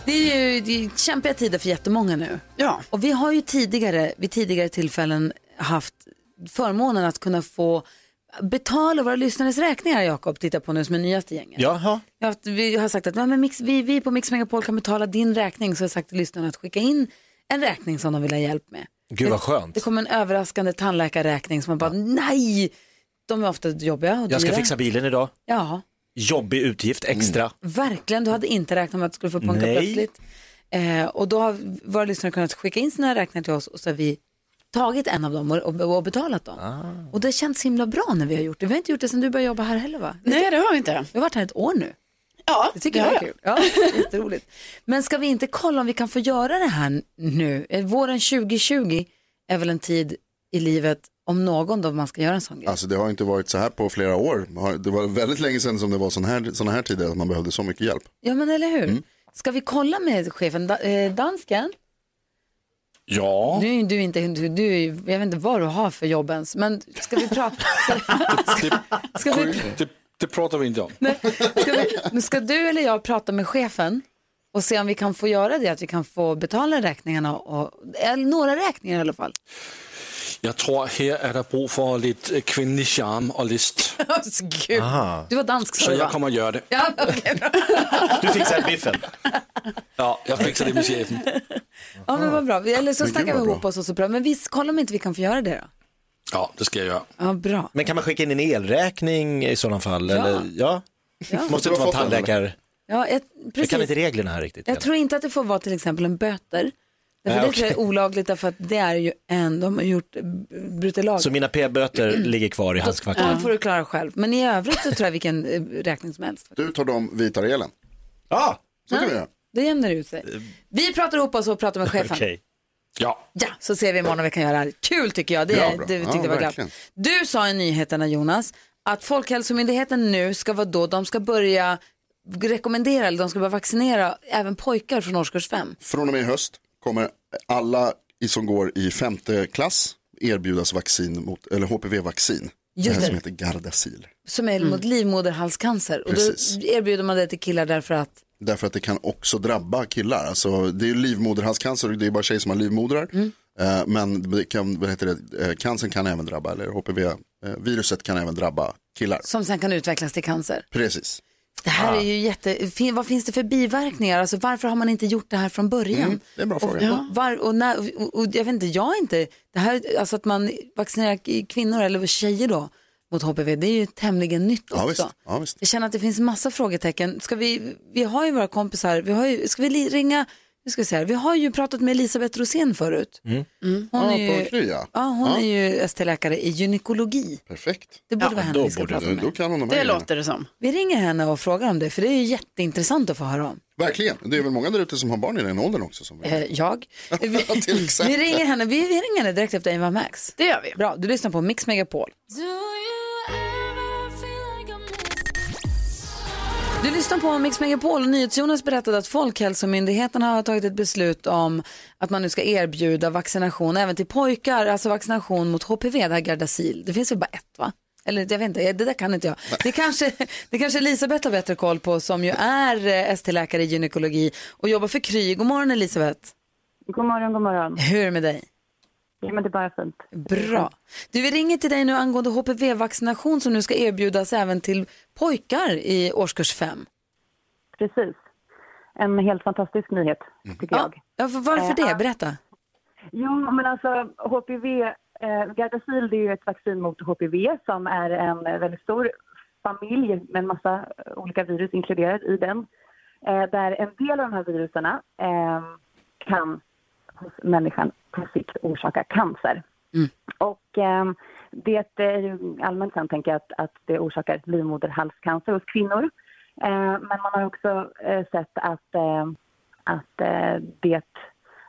S1: Det är ju det är kämpiga tider för jättemånga nu.
S3: Ja.
S1: Och vi har ju tidigare, vid tidigare tillfällen haft förmånen att kunna få betala våra lyssnares räkningar, Jakob, titta på nu som är nyaste gänget.
S2: Jaha.
S1: Jag har haft- vi har sagt att "Ja, men Mix, vi, vi på Mix Megapol kan betala din räkning, så jag har sagt till lyssnarna att skicka in en räkning som de vill ha hjälp med.
S2: Gud vad
S1: Det
S2: skönt.
S1: kom en överraskande tandläkarräkning som man bara, nej! De är ofta jobbiga och
S2: Jag ska
S1: dyra.
S2: fixa bilen idag.
S1: Ja,
S2: Jobbig utgift extra.
S1: verkligen. Du hade inte räknat med att du skulle få punka
S2: Nej.
S1: plötsligt. Eh, och då har våra lyssnare kunnat skicka in sina räkningar till oss och så har vi tagit en av dem och, och, och betalat dem.
S2: Ah.
S1: Och det känns himla bra när vi har gjort det. Vi har inte gjort det sedan du började jobba här heller va?
S3: Nej det har vi inte.
S1: Vi har varit här ett år nu.
S3: Ja,
S1: Det tycker
S3: det
S1: jag
S3: har
S1: är kul. Ja, jätteroligt. Men ska vi inte kolla om vi kan få göra det här nu? Eh, Våren 2020 är väl en tid i livet om någon då man ska göra en sån grej.
S4: Alltså det har inte varit så här på flera år. Har- Det var väldigt länge sedan som det var sådana här, såna här tider att man behövde så mycket hjälp.
S1: Ja men eller hur? Ska vi kolla med chefen, da, eh, dansken?
S9: Ja.
S1: Du, är ju- du, är inte, du, du, är ju- jag vet inte vad du har för jobb ens, men ska vi prata? Ska, ska, ska, vi,
S9: Det, det pratar vi inte om.
S1: nej, ska, vi, men ska du eller jag prata med chefen och se om vi kan få göra det, att vi kan få betala räkningarna, och, eller några räkningar i alla fall.
S9: Jag tror här är det brug för lite kvinnlig charm och list.
S1: Gud. Du var dansk sa
S9: Så
S1: du va?
S9: jag kommer göra det.
S1: Ja, okej, bra.
S2: Du fixar biffen.
S9: Ja, jag fixar det med chefen.
S1: ja men vad bra, Vi- eller så
S4: Men gud,
S1: snackar vi
S4: vad
S1: ihop
S4: bra.
S1: oss och så bra. Men vi kollar om inte vi kan få göra det då.
S9: Ja, det ska jag göra.
S1: Ja, bra.
S2: Men kan man skicka in en elräkning i sådana fall? Ja. Eller, ja? Måste
S4: Du
S2: inte
S4: har
S2: vara
S4: fått den,
S2: tandläkare.
S1: Ja, jag,
S2: Jag
S1: precis.
S2: kan inte reglerna här riktigt.
S1: Jag tror inte att det får vara till exempel en böter. Därför
S2: Nej,
S1: det tror jag är olagligt därför att det är ju en, de har gjort, brutit lag.
S2: Så mina p-böter
S1: Mm.
S2: ligger kvar i handskfacket.
S1: Den får du klara själv. Men i övrigt så tror jag vilken eh, räkning som helst.
S4: Du tar dem, vi tar elen.
S9: Ah!
S2: Ja,
S4: Så kan vi göra.
S1: Det jämnar ut sig. Vi pratar ihop oss och pratar med chefen.
S2: okej.
S9: Ja,
S1: Ja, så ser vi imorgon om vi kan göra det här. Kul tycker jag. Det,
S4: Ja,
S1: är-
S4: bra.
S1: det tyckte
S4: Ja,
S1: jag var glatt.
S4: verkligen.
S1: Du sa i nyheterna Jonas att Folkhälsomyndigheten nu ska vara då, de ska börja rekommendera, eller de ska börja vaccinera även pojkar från årskurs fem.
S4: Från och med i höst kommer alla i- som går i femte klass erbjudas vaccin mot, eller HPV-vaccin.
S1: Just
S4: det här
S1: det.
S4: som heter Gardasil.
S1: Som är mot livmoderhalscancer.
S4: Mm.
S1: Och
S4: Precis.
S1: då erbjuder man det till killar därför att
S4: Därför att det kan också drabba killar. Alltså, det är ju livmoderhalscancer och det är bara tjejer som har livmodrar.
S1: Mm.
S4: Eh, Men det kan, vad heter det, eh, cancern kan även drabba, eller HPV-viruset eh, kan även drabba killar.
S1: som sen kan utvecklas till cancer.
S4: Precis.
S1: Det här
S4: Ah.
S1: är ju jätte... fin- Vad finns det för biverkningar? Alltså varför har man inte gjort det här från början?
S4: Mm, det är en bra
S1: Och,
S4: fråga.
S1: och, var, och, när, och, och jag vet inte, jag är inte... Det här, alltså att man vaccinerar k- kvinnor eller tjejer då mot HPV, det är ju tämligen nytt
S4: Ja,
S1: också.
S4: visst. Ja, visst.
S1: Jag känner att det finns massa frågetecken. Ska vi, vi har ju våra kompisar, vi har ju, ska vi li- ringa, nu ska vi se här, vi har ju pratat med Elisabeth Rosén förut. Hon
S4: Mm. Ja,
S1: är ju,
S4: på Kry, ja.
S1: hon
S4: Ja.
S1: är ju ST-läkare i gynekologi.
S4: Perfekt.
S1: Det borde vara henne vi ska
S4: borde
S1: prata
S4: du-
S1: med.
S4: Då kan hon de här grejerna.
S3: det som.
S1: Vi ringer henne och frågar om det, för det är ju jätteintressant att få höra om.
S4: Verkligen. Det är väl många där ute som har barn i den åldern också. Som...
S1: Eh, jag. Vi,
S4: Till
S1: vi
S4: exempel.
S1: ringer henne, vi, vi ringer henne direkt efter Ava Max.
S3: Det gör vi.
S1: Bra, du lyssnar på Mix Megapol. Du lyssnar på Mix Megapol och NyhetsJonas berättade att Folkhälsomyndigheten har tagit ett beslut om att man nu ska erbjuda vaccination även till pojkar, alltså vaccination mot HPV, det här Gardasil. Det finns väl bara ett va? Eller jag vet inte, det där kan inte jag. Det kanske, det kanske Elisabeth har bättre koll på som ju är eh, ST-läkare i gynekologi och jobbar för Kry. God morgon Elisabeth.
S11: God morgon, god morgon.
S1: Hur är det med dig?
S11: Ja, men det är bara fint.
S1: Bra. Du, vi ringer till dig nu angående HPV-vaccination som nu ska erbjudas även till pojkar i årskurs 5.
S11: Precis. En helt fantastisk nyhet, tycker jag.
S1: Ja, för- varför
S11: Eh,
S1: det? Berätta.
S11: Jo, men alltså HPV, eh, Gardasil det är ju ett vaccin mot HPV som är en eh, väldigt stor familj med en massa eh, olika virus inkluderat i den. Eh, där en del av de här viruserna eh, kan hos människan på sikt orsaka cancer. Och eh, det är ju allmänt känt, tänker jag, att, att det orsakar livmoderhalscancer hos kvinnor. Eh, men man har också eh, sett att, eh, att eh, det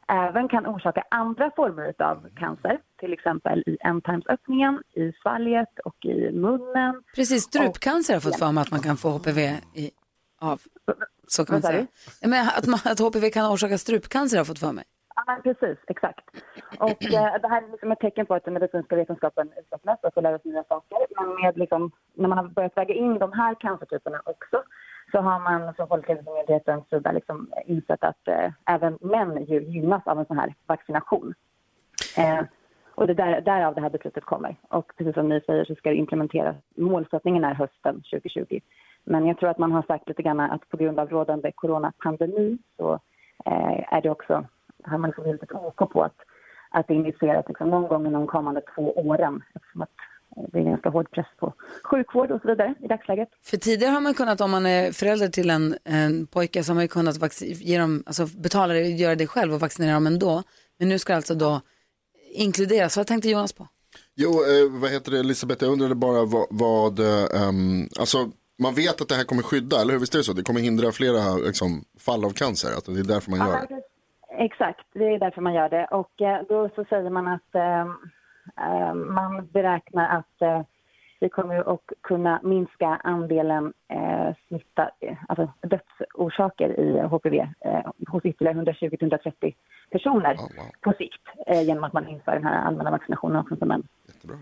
S11: även kan orsaka andra former av cancer, till exempel i ändtarmsöppningen, i svalget och i munnen.
S1: Precis, strupcancer har jag fått
S11: Ja.
S1: för mig att man kan få HPV i, av. Så kan man
S11: Vad sa
S1: säga. Ja, Men att, man, att HPV kan orsaka strupcancer har jag fått för mig.
S11: Ja, men precis, exakt. Och eh, det här är liksom ett tecken på att den medicinska vetenskapen utvecklas och får lära oss nya saker. Men med liksom, när man har börjat väga in de här cancertyperna också så har man från Folkhälsomyndighetens sida liksom insett att eh, även män ju gynnas av en sån här vaccination. Eh, och det där, därav det här beslutet kommer. Och precis som ni säger så ska det implementeras. Målsättningen är hösten 2020. Men jag tror att man har sagt lite grann att på grund av rådande coronapandemi så eh, är det också, har man liksom blivit ett OK på att, att initiera liksom någon gång inom de kommande två åren eftersom att eh, det är ganska hård press på sjukvård och så vidare i dagsläget.
S1: För tidigare har man kunnat, om man är förälder till en, en pojke, så har man ju kunnat vacci- ge dem, alltså betala det, göra det själv och vaccinera dem ändå. Men nu ska det alltså då inkluderas. Vad tänkte Jonas på?
S4: Jo, eh, vad heter det Elisabeth, jag undrade bara vad, vad eh, ehm, alltså man vet att det här kommer skydda, eller hur? Visst är det så? Det kommer hindra flera liksom, fall av cancer, att det är därför man gör det.
S11: Exakt, det är därför man gör det. Och eh, då så säger man att ehm, ehm, man beräknar att eh, vi kommer ju att kunna minska andelen eh, smitta, eh, alltså dödsorsaker i HPV eh, hos ytterligare 120-130 personer på sikt eh, genom att man inför den här allmänna vaccinationen också för män.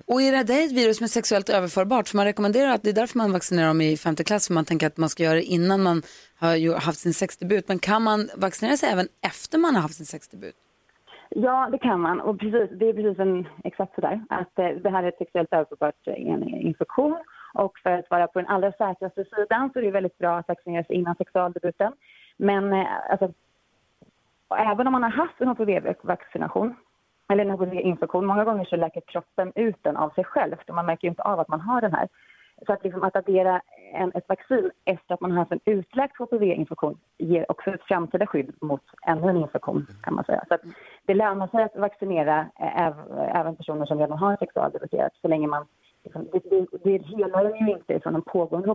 S1: Och är det- det är ett virus som är sexuellt överförbart? För man rekommenderar att det är därför man vaccinerar dem i femte klass, för man tänker att man ska göra det innan man har ju- haft sin sexdebut. Men kan man vaccinera sig även efter man har haft sin sexdebut?
S11: Ja, det kan man. Och precis, det är precis en, exakt sådär. Att eh, det här är ett sexuellt överförbart eh, en infektion. Och för att vara på den allra säkraste sidan så är det väldigt bra att vaccinera sig innan sexualdebuten. Men eh, alltså, och även om man har haft en HPV-vaccination eller en HPV-infektion, många gånger så läker kroppen ut den av sig själv. För man märker ju inte av att man har den här. Så att, liksom, att addera en, ett vaccin efter att man har haft en utläkt HPV-infektion ger också ett framtida skydd mot ännu en infektion kan man säga. Så att det lönar sig att vaccinera eh, äv- även personer som redan har sexualdebuterat så länge man liksom, det, det, det helar den ju inte från en pågående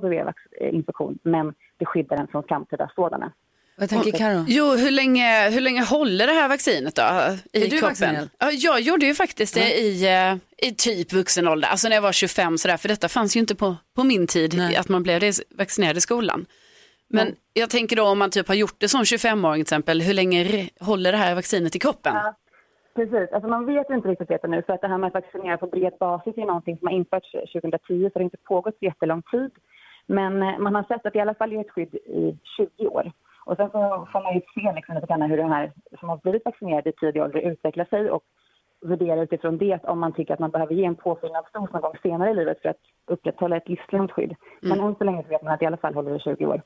S11: HPV-infektion men det skyddar den från framtida sådana.
S1: Vad tänker Karo?
S3: Jo, hur länge, hur länge håller det här vaccinet då? I
S1: du
S3: kroppen?
S1: vaccinerad?
S3: Ja, jag gjorde ju faktiskt det i, eh, i typ vuxen ålder, alltså när jag var 25 sådär, för detta fanns ju inte på, på min tid, att man blev det- vaccinerad i skolan. Men jag tänker då om man typ har gjort det som 25-åring till exempel, hur länge re- håller det här vaccinet i kroppen?
S11: Ja, precis. Alltså man vet inte riktigt detta nu för att det här med att vaccinera på bred basis är någonting som har införts 2010 så det har inte pågått så jättelång tid. Men eh, man har sett att det i alla fall ger ett skydd i 20 år. Och sen så får man ju se liksom lite grann hur de här som har blivit vaccinerade i tidig ålder utvecklar sig och värdera utifrån det om man tycker att man behöver ge en påfyllnadsdos någon gång senare i livet för att upprätthålla ett livslångt skydd. Men än så länge så vet man att det i alla fall håller i 20 år.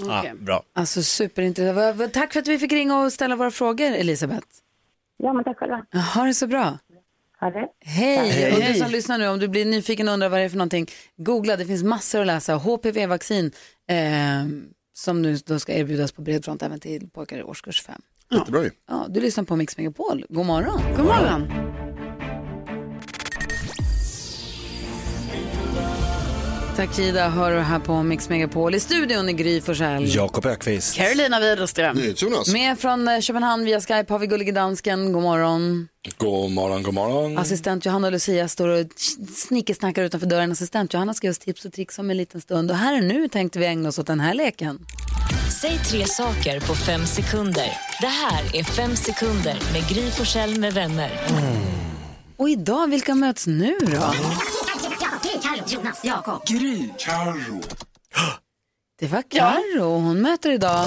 S2: Ja, Ah, bra.
S1: Alltså superintressant. Vad- vad- Tack för att vi fick ringa och ställa våra frågor, Elisabeth.
S11: Ja, men tack själva.
S1: Ha det så bra.
S11: Ha det.
S1: Hej!
S11: Tack.
S1: Och du som
S11: Hej.
S1: lyssnar nu, om du blir nyfiken och undrar vad det är för någonting, googla, det finns massor att läsa. HPV-vaccin eh, som nu då ska erbjudas på bred front även till pojkar i årskurs 5.
S4: Jättebra ju.
S1: Ja, du lyssnar på Mix Megapol. God morgon!
S3: God morgon!
S1: Tack Kida, hör du här på Mix Megapol. I studion i Gry Forssell.
S2: Jakob Ökvist.
S3: Carolina Widerström.
S1: Med från eh, Köpenhamn via Skype har vi gullige dansken. God morgon.
S9: God morgon, god morgon.
S1: Assistent Johanna och Lucia står och snickesnackar utanför dörren. Assistent Johanna ska ge oss tips och tricks om en liten stund. Och här och nu tänkte vi ägna oss åt den här leken.
S12: Säg tre saker på fem sekunder. Det här är Fem sekunder med Gry Forssell med vänner.
S1: Och idag, vilka möts nu då?
S12: Jonas, Jakob. Gry. Carro.
S1: Det var Carro hon möter idag.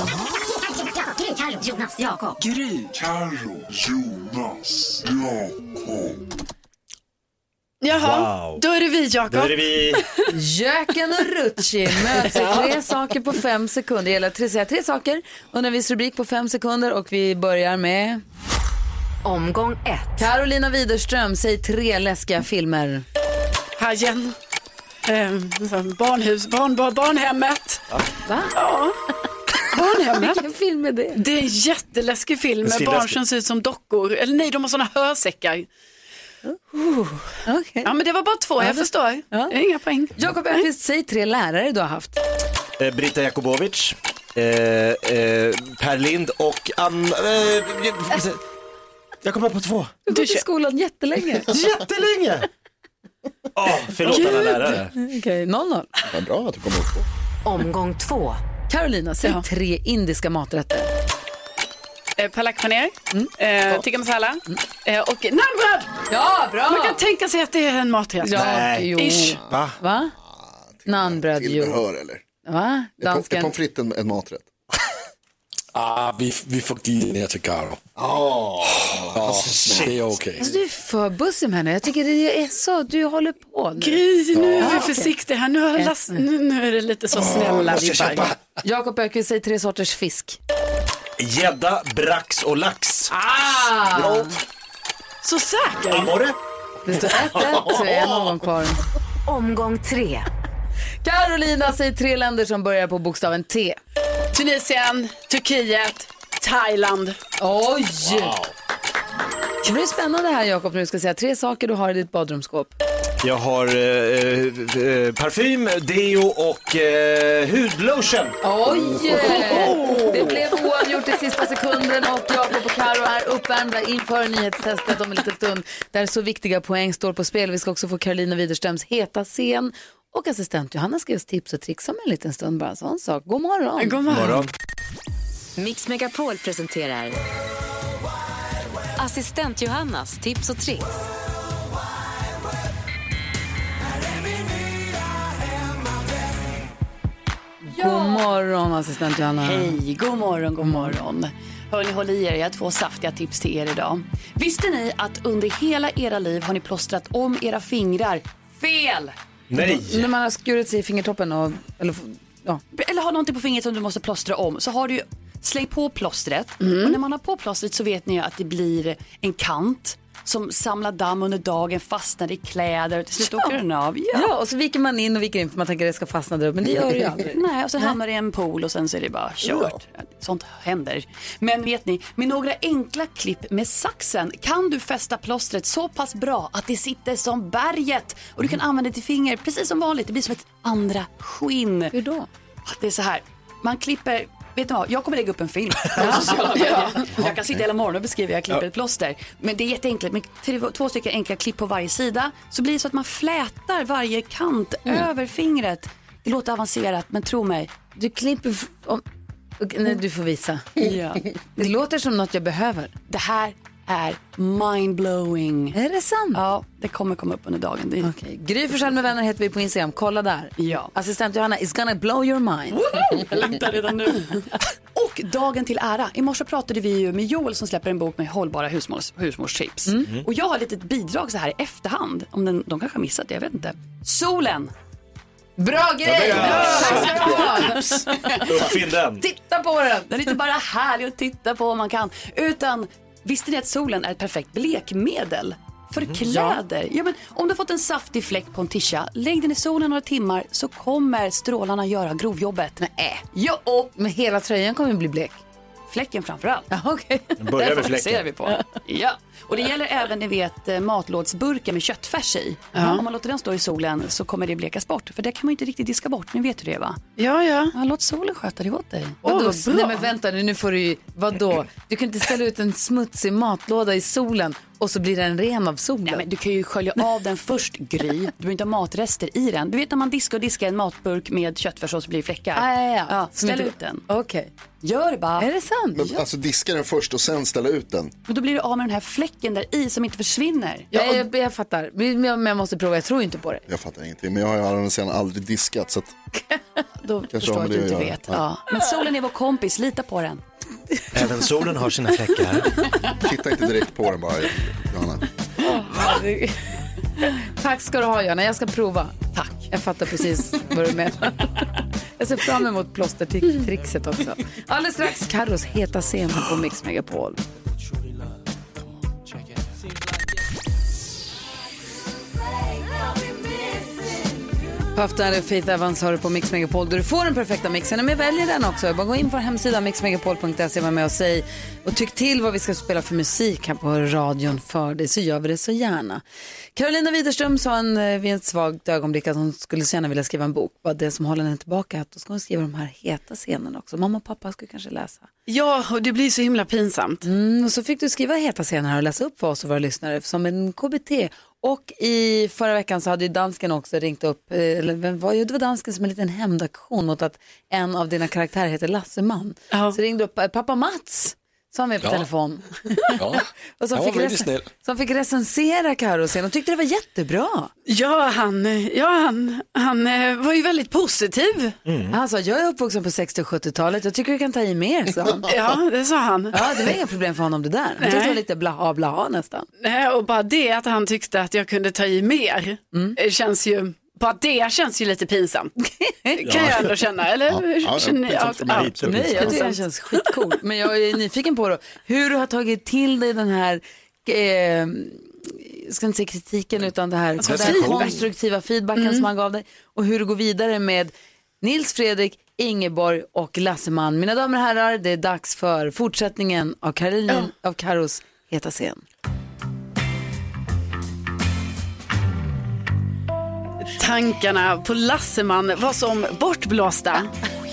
S12: Jonas, Jakob. Gry. Carro. Jonas. Jakob.
S3: Jaha,
S1: Wow.
S3: då är det vi Jakob.
S1: Då är det vi. Jöken och Rutschi möts i tre saker på fem sekunder. Det gäller att tre- säga tre saker under en viss rubrik på fem sekunder och vi börjar med... Omgång ett. Carolina Widerström, säg tre läskiga filmer.
S3: Hajen. Ehm, så, barnhus, barn, barn, barnhemmet.
S1: Va?
S3: Ja. Barnhemmet.
S1: Vilken film är det?
S3: Det är en jätteläskig film med
S1: Svinläskig.
S3: barn som ser ut som dockor. Eller nej, de har såna hörsäckar. Uh. Ja, men det var bara två, jag förstår. Det är inga poäng.
S1: Jakob Öqvist, säg tre lärare du har haft.
S2: Eh, Brita Jakubovic, eh, eh, Per Lind och Ann... Eh, jag- jag kommer på två.
S1: Du har gått i skolan jättelänge.
S2: jättelänge! Ah, Förlåt
S1: Gud.
S2: alla lärare.
S1: Okej, 0-0.
S4: Vad bra att du kom ihåg.
S1: Omgång två. Carolina, säg tre indiska maträtter.
S3: Eh, Palak paneer,
S1: Mm.
S3: eh, tikka masala eh, och naanbröd.
S1: Ja, bra!
S3: Man kan tänka sig att det är en maträtt.
S1: Ja, jo.
S3: Ish.
S4: Va?
S1: Va? Naanbröd, jo.
S4: Hör eller?
S1: Va?
S4: Är pom- Är
S1: Dansken.
S4: pommes frites en, en maträtt?
S9: Ah, vi, vi får glida ner till Carro. Oh, det är okej.
S1: Alltså, du är för bussig med henne. Jag tycker det är så, du håller på nu.
S3: Gry, nu är vi
S1: okej.
S3: försiktiga här. Nu, har
S1: Ett.
S3: Lasse- nu, nu är det lite så snälla vibbar.
S1: Jakob Öqvist, säg tre sorters fisk.
S2: Gädda, brax och lax.
S1: Ah!
S3: Så säker?
S2: Abborre.
S1: Det står 1-1, så en omgång kvar.
S5: Omgång tre.
S1: Carolina, säg tre länder som börjar på bokstaven T.
S3: Tunisien, Turkiet, Thailand.
S1: Oj! Det blir spännande här Jakob, när du ska säga tre saker du har i ditt badrumsskåp.
S2: Jag har eh, eh, eh, parfym, deo och eh, hudlotion.
S1: Oj! Det blev oavgjort i sista sekunden och Jakob och Karo är uppvärmda inför nyhetstestet om en liten stund där så viktiga poäng står på spel. Vi ska också få Carolina Widerströms heta scen och assistent Johanna ska ge oss tips och tricks om en liten stund. Bara en sån sak. God morgon!
S5: God
S3: Ah.
S5: morgon. Morgon. Mix Megapol presenterar Assistent Johannas tips och tricks.
S1: God morgon assistent Johanna.
S3: Hej, god morgon, god morgon. Hörni, håll i er, jag har två saftiga tips till er idag. Visste ni att under hela era liv har ni plåstrat om era fingrar fel?
S2: Nej.
S1: När man har skurit sig i fingertoppen och... Eller, ja.
S3: Eller har någonting på fingret som du måste plåstra om så har du ju, släng på plåstret och när man har på plåstret så vet ni ju att det blir en kant som samlar damm under dagen, fastnar i kläder och till slut åker den av. Ja.
S1: ja, och så viker man in och viker in för man tänker att det ska fastna där uppe, men det gör det ju aldrig.
S3: Nej, och sen hamnar det i en pool och sen så är det bara kört. Sånt händer. Men vet ni, med några enkla klipp med saxen kan du fästa plåstret så pass bra att det sitter som berget. Och du kan använda det till finger precis som vanligt. Det blir som ett andra skinn. Hur
S1: då?
S3: Det är så här, man klipper Vet ni vad, jag kommer lägga upp en film på sociala medier. Jag kan sitta hela morgonen och beskriva hur jag klipper ett plåster. Men det är jätteenkelt, med tre- två stycken enkla klipp på varje sida så blir det så att man flätar varje kant över fingret. Det låter avancerat men tro mig,
S1: Du klipper... f- Om... och- Nej, du får visa. Ja. Det låter som något jag behöver.
S3: Det här är mindblowing.
S1: Är det sant?
S3: Ja, det kommer komma upp under dagen. Det...
S1: Okay. Gry Forssell med vänner heter vi på Instagram. Kolla där.
S3: Ja.
S1: Assistent Johanna is gonna blow your mind.
S3: Jag längtar redan nu. Och dagen till ära. I morse pratade vi ju med Joel som släpper en bok med hållbara husmors, husmorstips.
S13: Mm.
S3: Och jag har ett litet bidrag så här i efterhand. Om den, de kanske har missat det, jag vet inte. Solen.
S1: Bra grej!
S3: Ja, det är
S1: Tack ska du ha!
S2: Uppfinn den.
S3: Titta på den! Den är inte bara härlig att titta på om man kan. Utan visste ni att solen är ett perfekt blekmedel? För kläder. Mm, Ja, men, om du har fått en saftig fläck på en tisha, lägg den i solen några timmar så kommer strålarna göra grovjobbet. Nej. Jo, och
S1: Men hela tröjan kommer bli blek.
S3: fläcken framförallt.
S1: Ja, okej.
S3: Den fokuserar vi på. Ja. Och det gäller även ni vet eh, matlådsburkar med köttfärs i.
S13: Ja.
S3: Om man låter den stå i solen så kommer det blekas bort. För det kan man ju inte riktigt diska bort. Ni vet hur det är va?
S13: Ja, ja.
S3: låt solen sköta det åt dig.
S1: Vadå? Nej men vänta nu, nu får du ju, vadå? Du kan inte ställa ut en smutsig matlåda i solen och så blir den ren av solen. Nej men
S3: du kan ju skölja av den först Gry. Du behöver inte ha matrester i den. Du vet när man diskar och diskar en matburk med köttfärs och så blir det fläckar.
S1: Ah, ja, ja.
S3: Ja,
S1: Som
S3: ställ
S1: inte-
S3: ut den.
S1: Okej.
S3: Gör det bara.
S1: Är det sant?
S4: Men, Alltså diska den först och sen ställa ut den.
S3: Men då blir du av med den här fläcken där i som inte försvinner.
S1: Ja, jag, jag fattar, men jag men jag måste prova, jag tror ju inte på det.
S4: Jag fattar ingenting, men jag har ju aldrig- sen aldrig diskat så att...
S3: Då
S4: Kanske
S3: förstår
S4: har
S3: jag att
S4: med
S3: du
S4: det
S3: inte
S4: att göra.
S3: vet. Ja. Men solen är vår kompis, lita på den.
S2: Även solen har sina fläckar.
S4: Titta inte direkt på den bara, Johanna.
S1: Tack ska du ha Johanna, jag ska prova. Tack. Jag fattar precis vad du menar. Jag ser fram emot plåstertrixet också. Alldeles strax Carros heta scen på Mix Megapol. Puff Daddy och Faith Evans hör du på Mix Megapol där du får den perfekta mixen. Men jag väljer den också. Bara gå in på vår hemsida mixmegapol.se var med och säg och tyck till vad vi ska spela för musik här på radion för dig så gör vi det så gärna. Carolina Widerström sa en, eh, vid ett svagt ögonblick att hon skulle så gärna vilja skriva en bok. Bara det som håller henne tillbaka är att då ska hon skriva de här heta scenerna också. Mamma och pappa skulle kanske läsa.
S3: Ja, och det blir så himla pinsamt.
S1: Mm, och så fick du skriva heta scener här och läsa upp för oss och våra lyssnare som en KBT. Och i förra veckan så hade ju dansken också ringt upp, eh, eller vem var det? Det var dansken som en liten hämndaktion mot att en av dina karaktärer heter Lasseman. Så ringde upp eh, pappa Mats, som var med på
S13: Ja.
S1: telefon.
S13: Ja.
S1: Och som,
S13: Han var
S1: fick
S13: väldigt
S1: recen-
S13: snäll.
S1: som fick recensera Carros scen och tyckte det var jättebra.
S3: Ja, han, ja, han, han eh, var ju väldigt positiv.
S13: Mm.
S1: Han sa, jag är uppvuxen på 60 och 70-talet, jag tycker vi kan ta i mer, sa han.
S3: Ja, det sa han.
S1: Ja, det var inga problem för honom det där. Han tyckte det
S3: Nej.
S1: var lite blaha blaha nästan.
S3: Nej, Eh, och bara det att han tyckte att jag kunde ta i mer eh, känns ju, bara det känns ju lite pinsamt. kan jag ändå känna, eller?
S1: Ja, ja,
S3: Känner ni-
S1: pinsamt för mig
S3: ja.
S1: lite, Nej, jag tycker det känns skitcoolt. Men jag är nyfiken på då, hur du har tagit till dig den här, eh, jag ska inte säga kritiken, utan det här,
S13: Alltså,
S1: den här
S13: feedback.
S1: konstruktiva feedbacken som han gav dig. Och hur du går vidare med Nils Fredrik, Ingeborg och Lasseman. Mina damer och herrar, det är dags för fortsättningen av Karolin, av Karos heta scen.
S3: Tankarna på Lasseman var som bortblåsta.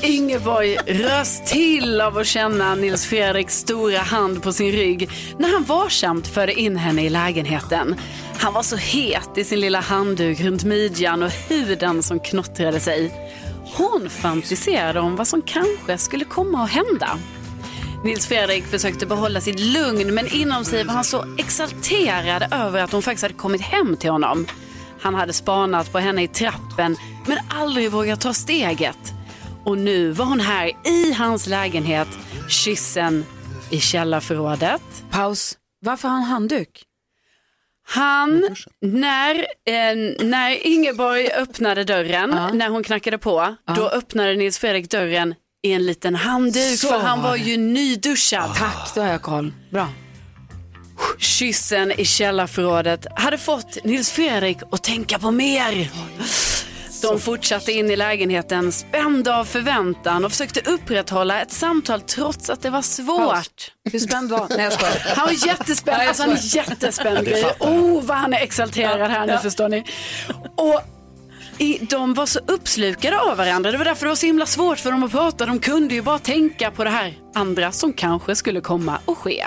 S3: Ingeborg rös till av att känna Nils Fredriks stora hand på sin rygg när han varsamt förde in henne i lägenheten. Han var så het i sin lilla handduk runt midjan och huden som knottrade sig. Hon fantiserade om vad som kanske skulle komma att hända. Nils Fredrik försökte behålla sitt lugn men inom sig var han så exalterad över att hon faktiskt hade kommit hem till honom. Han hade spanat på henne i trappen men aldrig vågat ta steget. Och nu var hon här i hans lägenhet, kyssen i källarförrådet.
S1: Paus. Varför har han handduk?
S3: Han, när, eh, när Ingeborg öppnade dörren, när hon knackade på, då öppnade Nils Fredrik dörren i en liten handduk
S1: Så
S3: för han
S1: var
S3: var
S1: det. Ah.
S3: ju nyduschad.
S1: Tack, då har jag koll. Bra.
S3: Kyssen i källarförrådet hade fått Nils Fredrik att tänka på mer. De fortsatte in i lägenheten spända av förväntan och försökte upprätthålla ett samtal trots att det var
S1: Paus.
S3: svårt.
S1: Hur spänd var Nej, jag skojar.
S3: Han var jättespänd.
S1: Ja, jag
S3: Alltså, han är
S1: skojar.
S3: jättespänd.
S1: Ja, det
S3: Gry.
S1: fattar
S3: oh, vad han är exalterad här nu,
S1: Ja.
S3: förstår ni. Och i- de var så uppslukade av varandra. Det var därför det var så himla svårt för dem att prata. De kunde ju bara tänka på det här andra som kanske skulle komma och ske.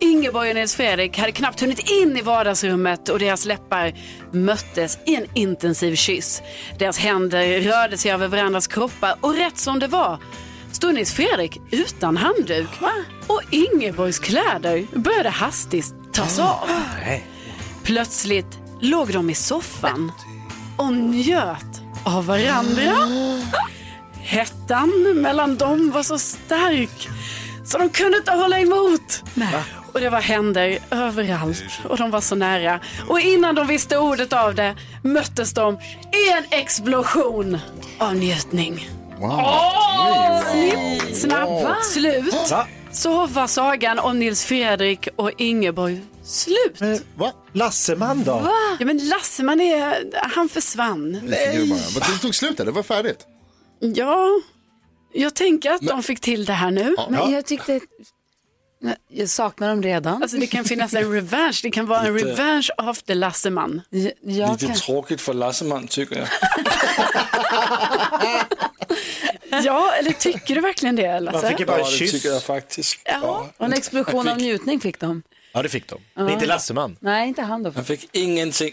S3: Ingeborg och Nils Fredrik hade knappt hunnit in i vardagsrummet och deras läppar möttes i en intensiv kyss. Deras händer rörde sig över varandras kroppar och rätt som det var stod Nils Fredrik utan handduk. Och Ingeborgs kläder började hastigt tas av. Plötsligt låg de i soffan och njöt av varandra. Hettan mellan dem var så stark så de kunde inte hålla emot. Och det var händer överallt och de var så nära. Och innan de visste ordet av det möttes de i en explosion av njutning. Snipp, snapp, slut.
S2: Va?
S3: Så var sagan om Nils Fredrik och Ingeborg slut.
S2: va? Lasseman då?
S3: Ja, men Lasse, man är, han försvann.
S4: Nej. Bara. Det tog slut där, det var färdigt.
S3: Ja, jag tänker att de fick till det här nu.
S4: Ja.
S1: Men jag tyckte... Nej, Jag saknar dem redan.
S3: Alltså det kan finnas en revansch, det kan vara en
S9: Lite-
S3: revansch after Lasseman.
S1: Jag
S9: Lite tråkigt för Lasseman tycker jag.
S3: Ja, eller tycker du verkligen det Lasse?
S9: ja, det tycker jag faktiskt.
S3: Ja.
S1: Och en explosion av njutning fick de.
S2: Ja, det fick de.
S1: Ja.
S2: Inte Lasseman.
S1: Nej, inte han då.
S9: Han fick ingenting.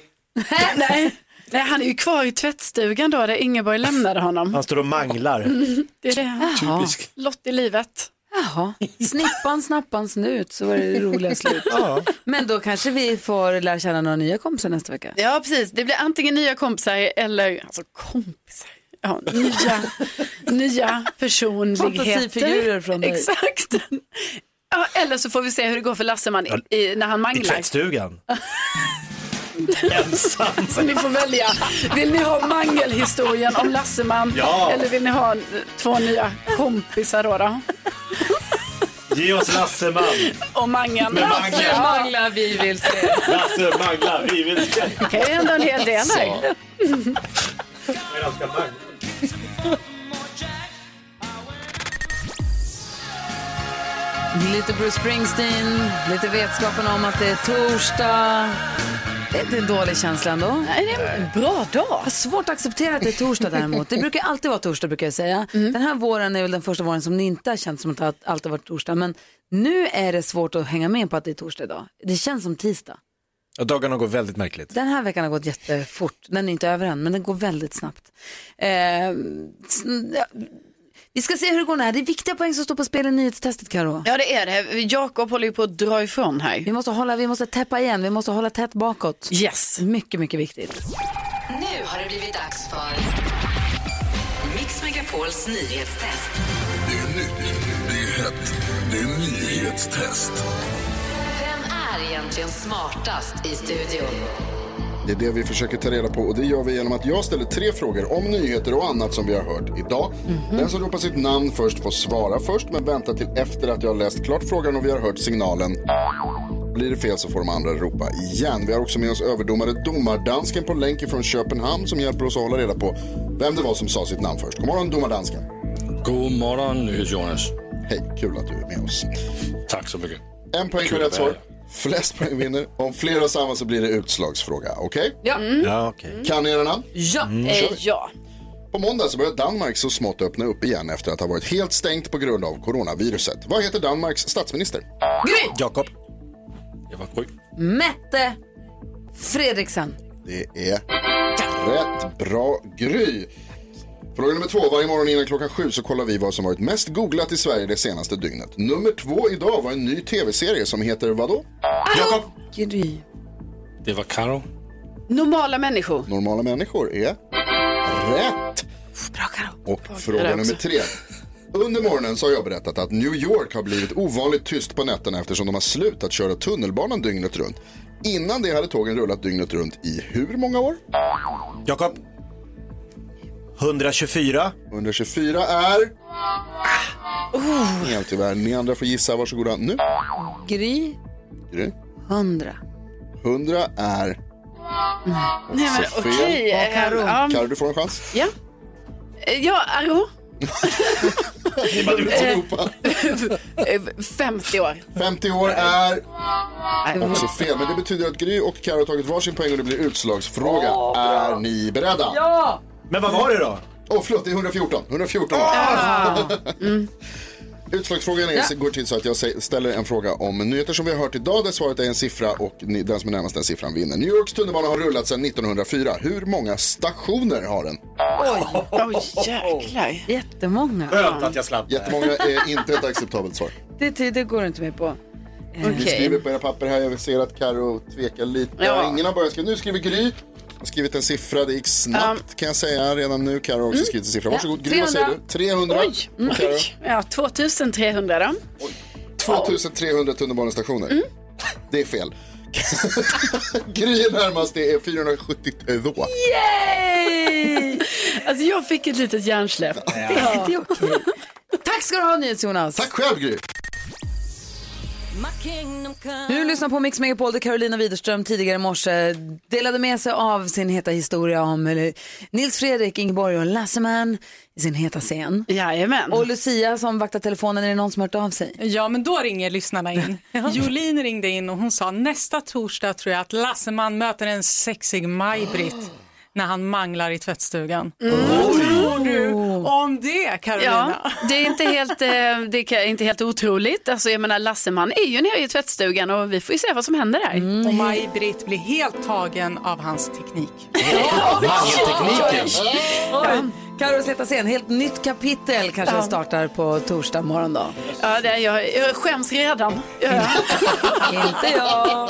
S3: Nej. Nej, han är ju kvar i tvättstugan då där Ingeborg lämnade honom.
S2: Han står och manglar.
S3: Mm, det är det.
S2: Jaha. Typisk.
S3: Lott i livet.
S1: Jaha. Snippan, snappan, snut, så var det roliga slut. Men då kanske vi får lära känna några nya kompisar nästa vecka.
S3: Ja, precis. Det blir antingen nya kompisar eller, alltså kompisar, ja, nya, nya personligheter.
S1: Fantasifigurer från dig.
S3: Exakt. Ja, eller så får vi se hur det går för Lasseman i, i, när han
S2: I
S3: manglar.
S2: tvättstugan.
S3: Så ni får välja. Vill ni ha mangelhistorien om Lasseman
S2: Ja.
S3: eller vill ni ha eh, två nya kompisar då? då?
S2: Ge oss Lasseman.
S3: Och mangeln.
S2: Med mangeln.
S3: Ja.
S1: Manglar vi vill se.
S2: Lasse manglar. Vi vill se.
S3: Det kan ju hända en hel del
S2: Så.
S3: här.
S1: Lite Bruce Springsteen, lite vetskapen om att det är torsdag. Det är inte en dålig känsla ändå.
S3: Nej, det är en bra dag. Jag
S1: har svårt att acceptera att det är torsdag däremot. Det brukar alltid vara torsdag brukar jag säga.
S3: Mm.
S1: Den här våren är väl den första våren som det inte har känts som att det alltid har varit torsdag. Men nu är det svårt att hänga med på att det är torsdag idag. Det känns som tisdag.
S2: Ja, dagarna går väldigt märkligt.
S1: Den här veckan har gått jättefort. Den är inte över än, men den går väldigt snabbt. Eh, sn- ja, vi ska se hur det går när. Det är viktiga poäng som står på spel i nyhetstestet, Karo.
S3: Ja, det är det. Jakob håller ju på att dra ifrån här.
S1: Vi måste, hålla, vi måste täppa igen, vi måste hålla tätt bakåt.
S3: Yes.
S1: Mycket, mycket viktigt.
S5: Nu har det blivit dags för Mix Megapols nyhetstest.
S13: Det är nytt, det är hett, det är nyhetstest.
S5: Vem är egentligen smartast i studion?
S4: Det är det vi försöker ta reda på och det gör vi genom att jag ställer tre frågor om nyheter och annat som vi har hört idag. Den som ropar sitt namn först får svara först men vänta till efter att jag har läst klart frågan och vi har hört signalen. Blir det fel så får de andra ropa igen. Vi har också med oss överdomare Domardansken på länk från Köpenhamn som hjälper oss att hålla reda på vem det var som sa sitt namn först. God morgon Domardansken.
S9: God morgon NyhetsJonas.
S4: Hej, kul att du är med oss.
S9: Tack så mycket.
S4: En poäng för
S9: Kul att
S4: rätt
S9: vara
S4: svar. Flest poäng vinner. Om fler har samma så blir det utslagsfråga. Okej?
S3: Ja. Mm.
S2: Ja, okej.
S4: Kan ni era namn? Mm,
S1: Ja.
S3: ja.
S4: På måndag så börjar Danmark så smått öppna upp igen efter att ha varit helt stängt på grund av coronaviruset. Vad heter Danmarks statsminister?
S1: Gry!
S2: Jakob.
S9: Jag var Gry.
S1: Mette Fredriksen.
S4: Det är rätt bra Gry. Fråga nummer två. Varje morgon innan klockan sju så kollar vi vad som varit mest googlat i Sverige det senaste dygnet. Nummer två idag var en ny tv-serie som heter vadå?
S9: Jakob.
S1: Gry.
S9: Det var Karo.
S3: Normala människor.
S4: Normala människor är rätt. Och
S3: Det
S4: fråga
S3: där
S4: nummer
S3: också.
S4: tre. Under morgonen så har jag berättat att New York har blivit ovanligt tyst på nätterna eftersom de har slutat köra tunnelbanan dygnet runt. Innan det hade tågen rullat dygnet runt i hur många år?
S2: Jakob. 124.
S4: 124 är...
S3: Ah.
S4: Ah.
S3: Uh.
S4: Helt tyvärr. Ni andra får gissa. Varsågoda nu.
S1: Gry.
S4: Gry.
S1: 100.
S4: 100 är...
S3: Nej, men
S4: Så fel.
S3: okej. eh,
S4: Karo,
S3: ja,
S4: du får en chans.
S3: Ja. Eh, Ja, Arro. Eh, 50 år.
S4: 50 år är också fel, men det betyder att Gry och Carro har tagit varsin poäng och det blir utslagsfråga. är ni beredda?
S1: Ja!
S2: Men vad var det då?
S4: Åh, förlåt, det är 114. 114. Utslagsfrågan är, så går till så att jag sä- ställer en fråga om nyheter som vi har hört idag där svaret är en siffra och ni, den som är närmast den siffran vinner. New Yorks tunnelbana har rullat sedan 1904. Hur många stationer har den?
S1: Oj,
S4: Oh,
S3: oj jäklar.
S1: Jättemånga.
S2: jag slapp.
S4: Jättemånga är inte ett acceptabelt svar.
S1: Det, ty- det går inte med på.
S4: Ni Eh, skriver på era papper här, jag ser att Karo tvekar lite.
S1: Ja.
S4: Ingen har börjat skriva. Nu skriver Gry. Har skrivit en siffra, det gick snabbt kan jag säga redan nu. Karo har också skrivit en siffra. Varsågod, Gry vad säger du? 300.
S3: Mm. Oj,
S1: Mm.
S3: Mm.
S4: Och Karo?
S3: oj. Ja, 2300 då.
S4: 2300 tunnelbanestationer.
S3: Mm.
S4: Det är fel. Gry är närmast, det är 472.
S3: Yay! alltså jag fick ett litet hjärnsläpp.
S1: Tack ska du ha NyhetsJonas. Tack
S4: själv Gry.
S1: Du lyssnar på Mix Megapol där Carolina Widerström tidigare i morse delade med sig av sin heta historia om eh, Nils Fredrik, Ingeborg och Lasseman i sin heta scen.
S3: Jajamän.
S1: Och Lucia som vaktar telefonen, är det någon som hört av sig?
S14: Ja, men då ringer lyssnarna in. Jolin ringde in och hon sa nästa torsdag tror jag att Lasseman möter en sexig Maj-Britt när han manglar i tvättstugan. Vad tror du om det, Carolina?
S3: Mm. Ja, det är inte helt, eh, det är inte helt otroligt. Alltså, jag menar, Lasseman är ju nere i tvättstugan och vi får ju se vad som händer där.
S4: Mm.
S14: Och Maj-Britt blir helt tagen av hans teknik.
S1: Mangeltekniken. Ja. Carros heta scen, helt nytt kapitel kanske
S3: Ja.
S1: startar på torsdag morgon då.
S3: Ja, det, jag, jag skäms redan. Ja.
S1: Inte jag.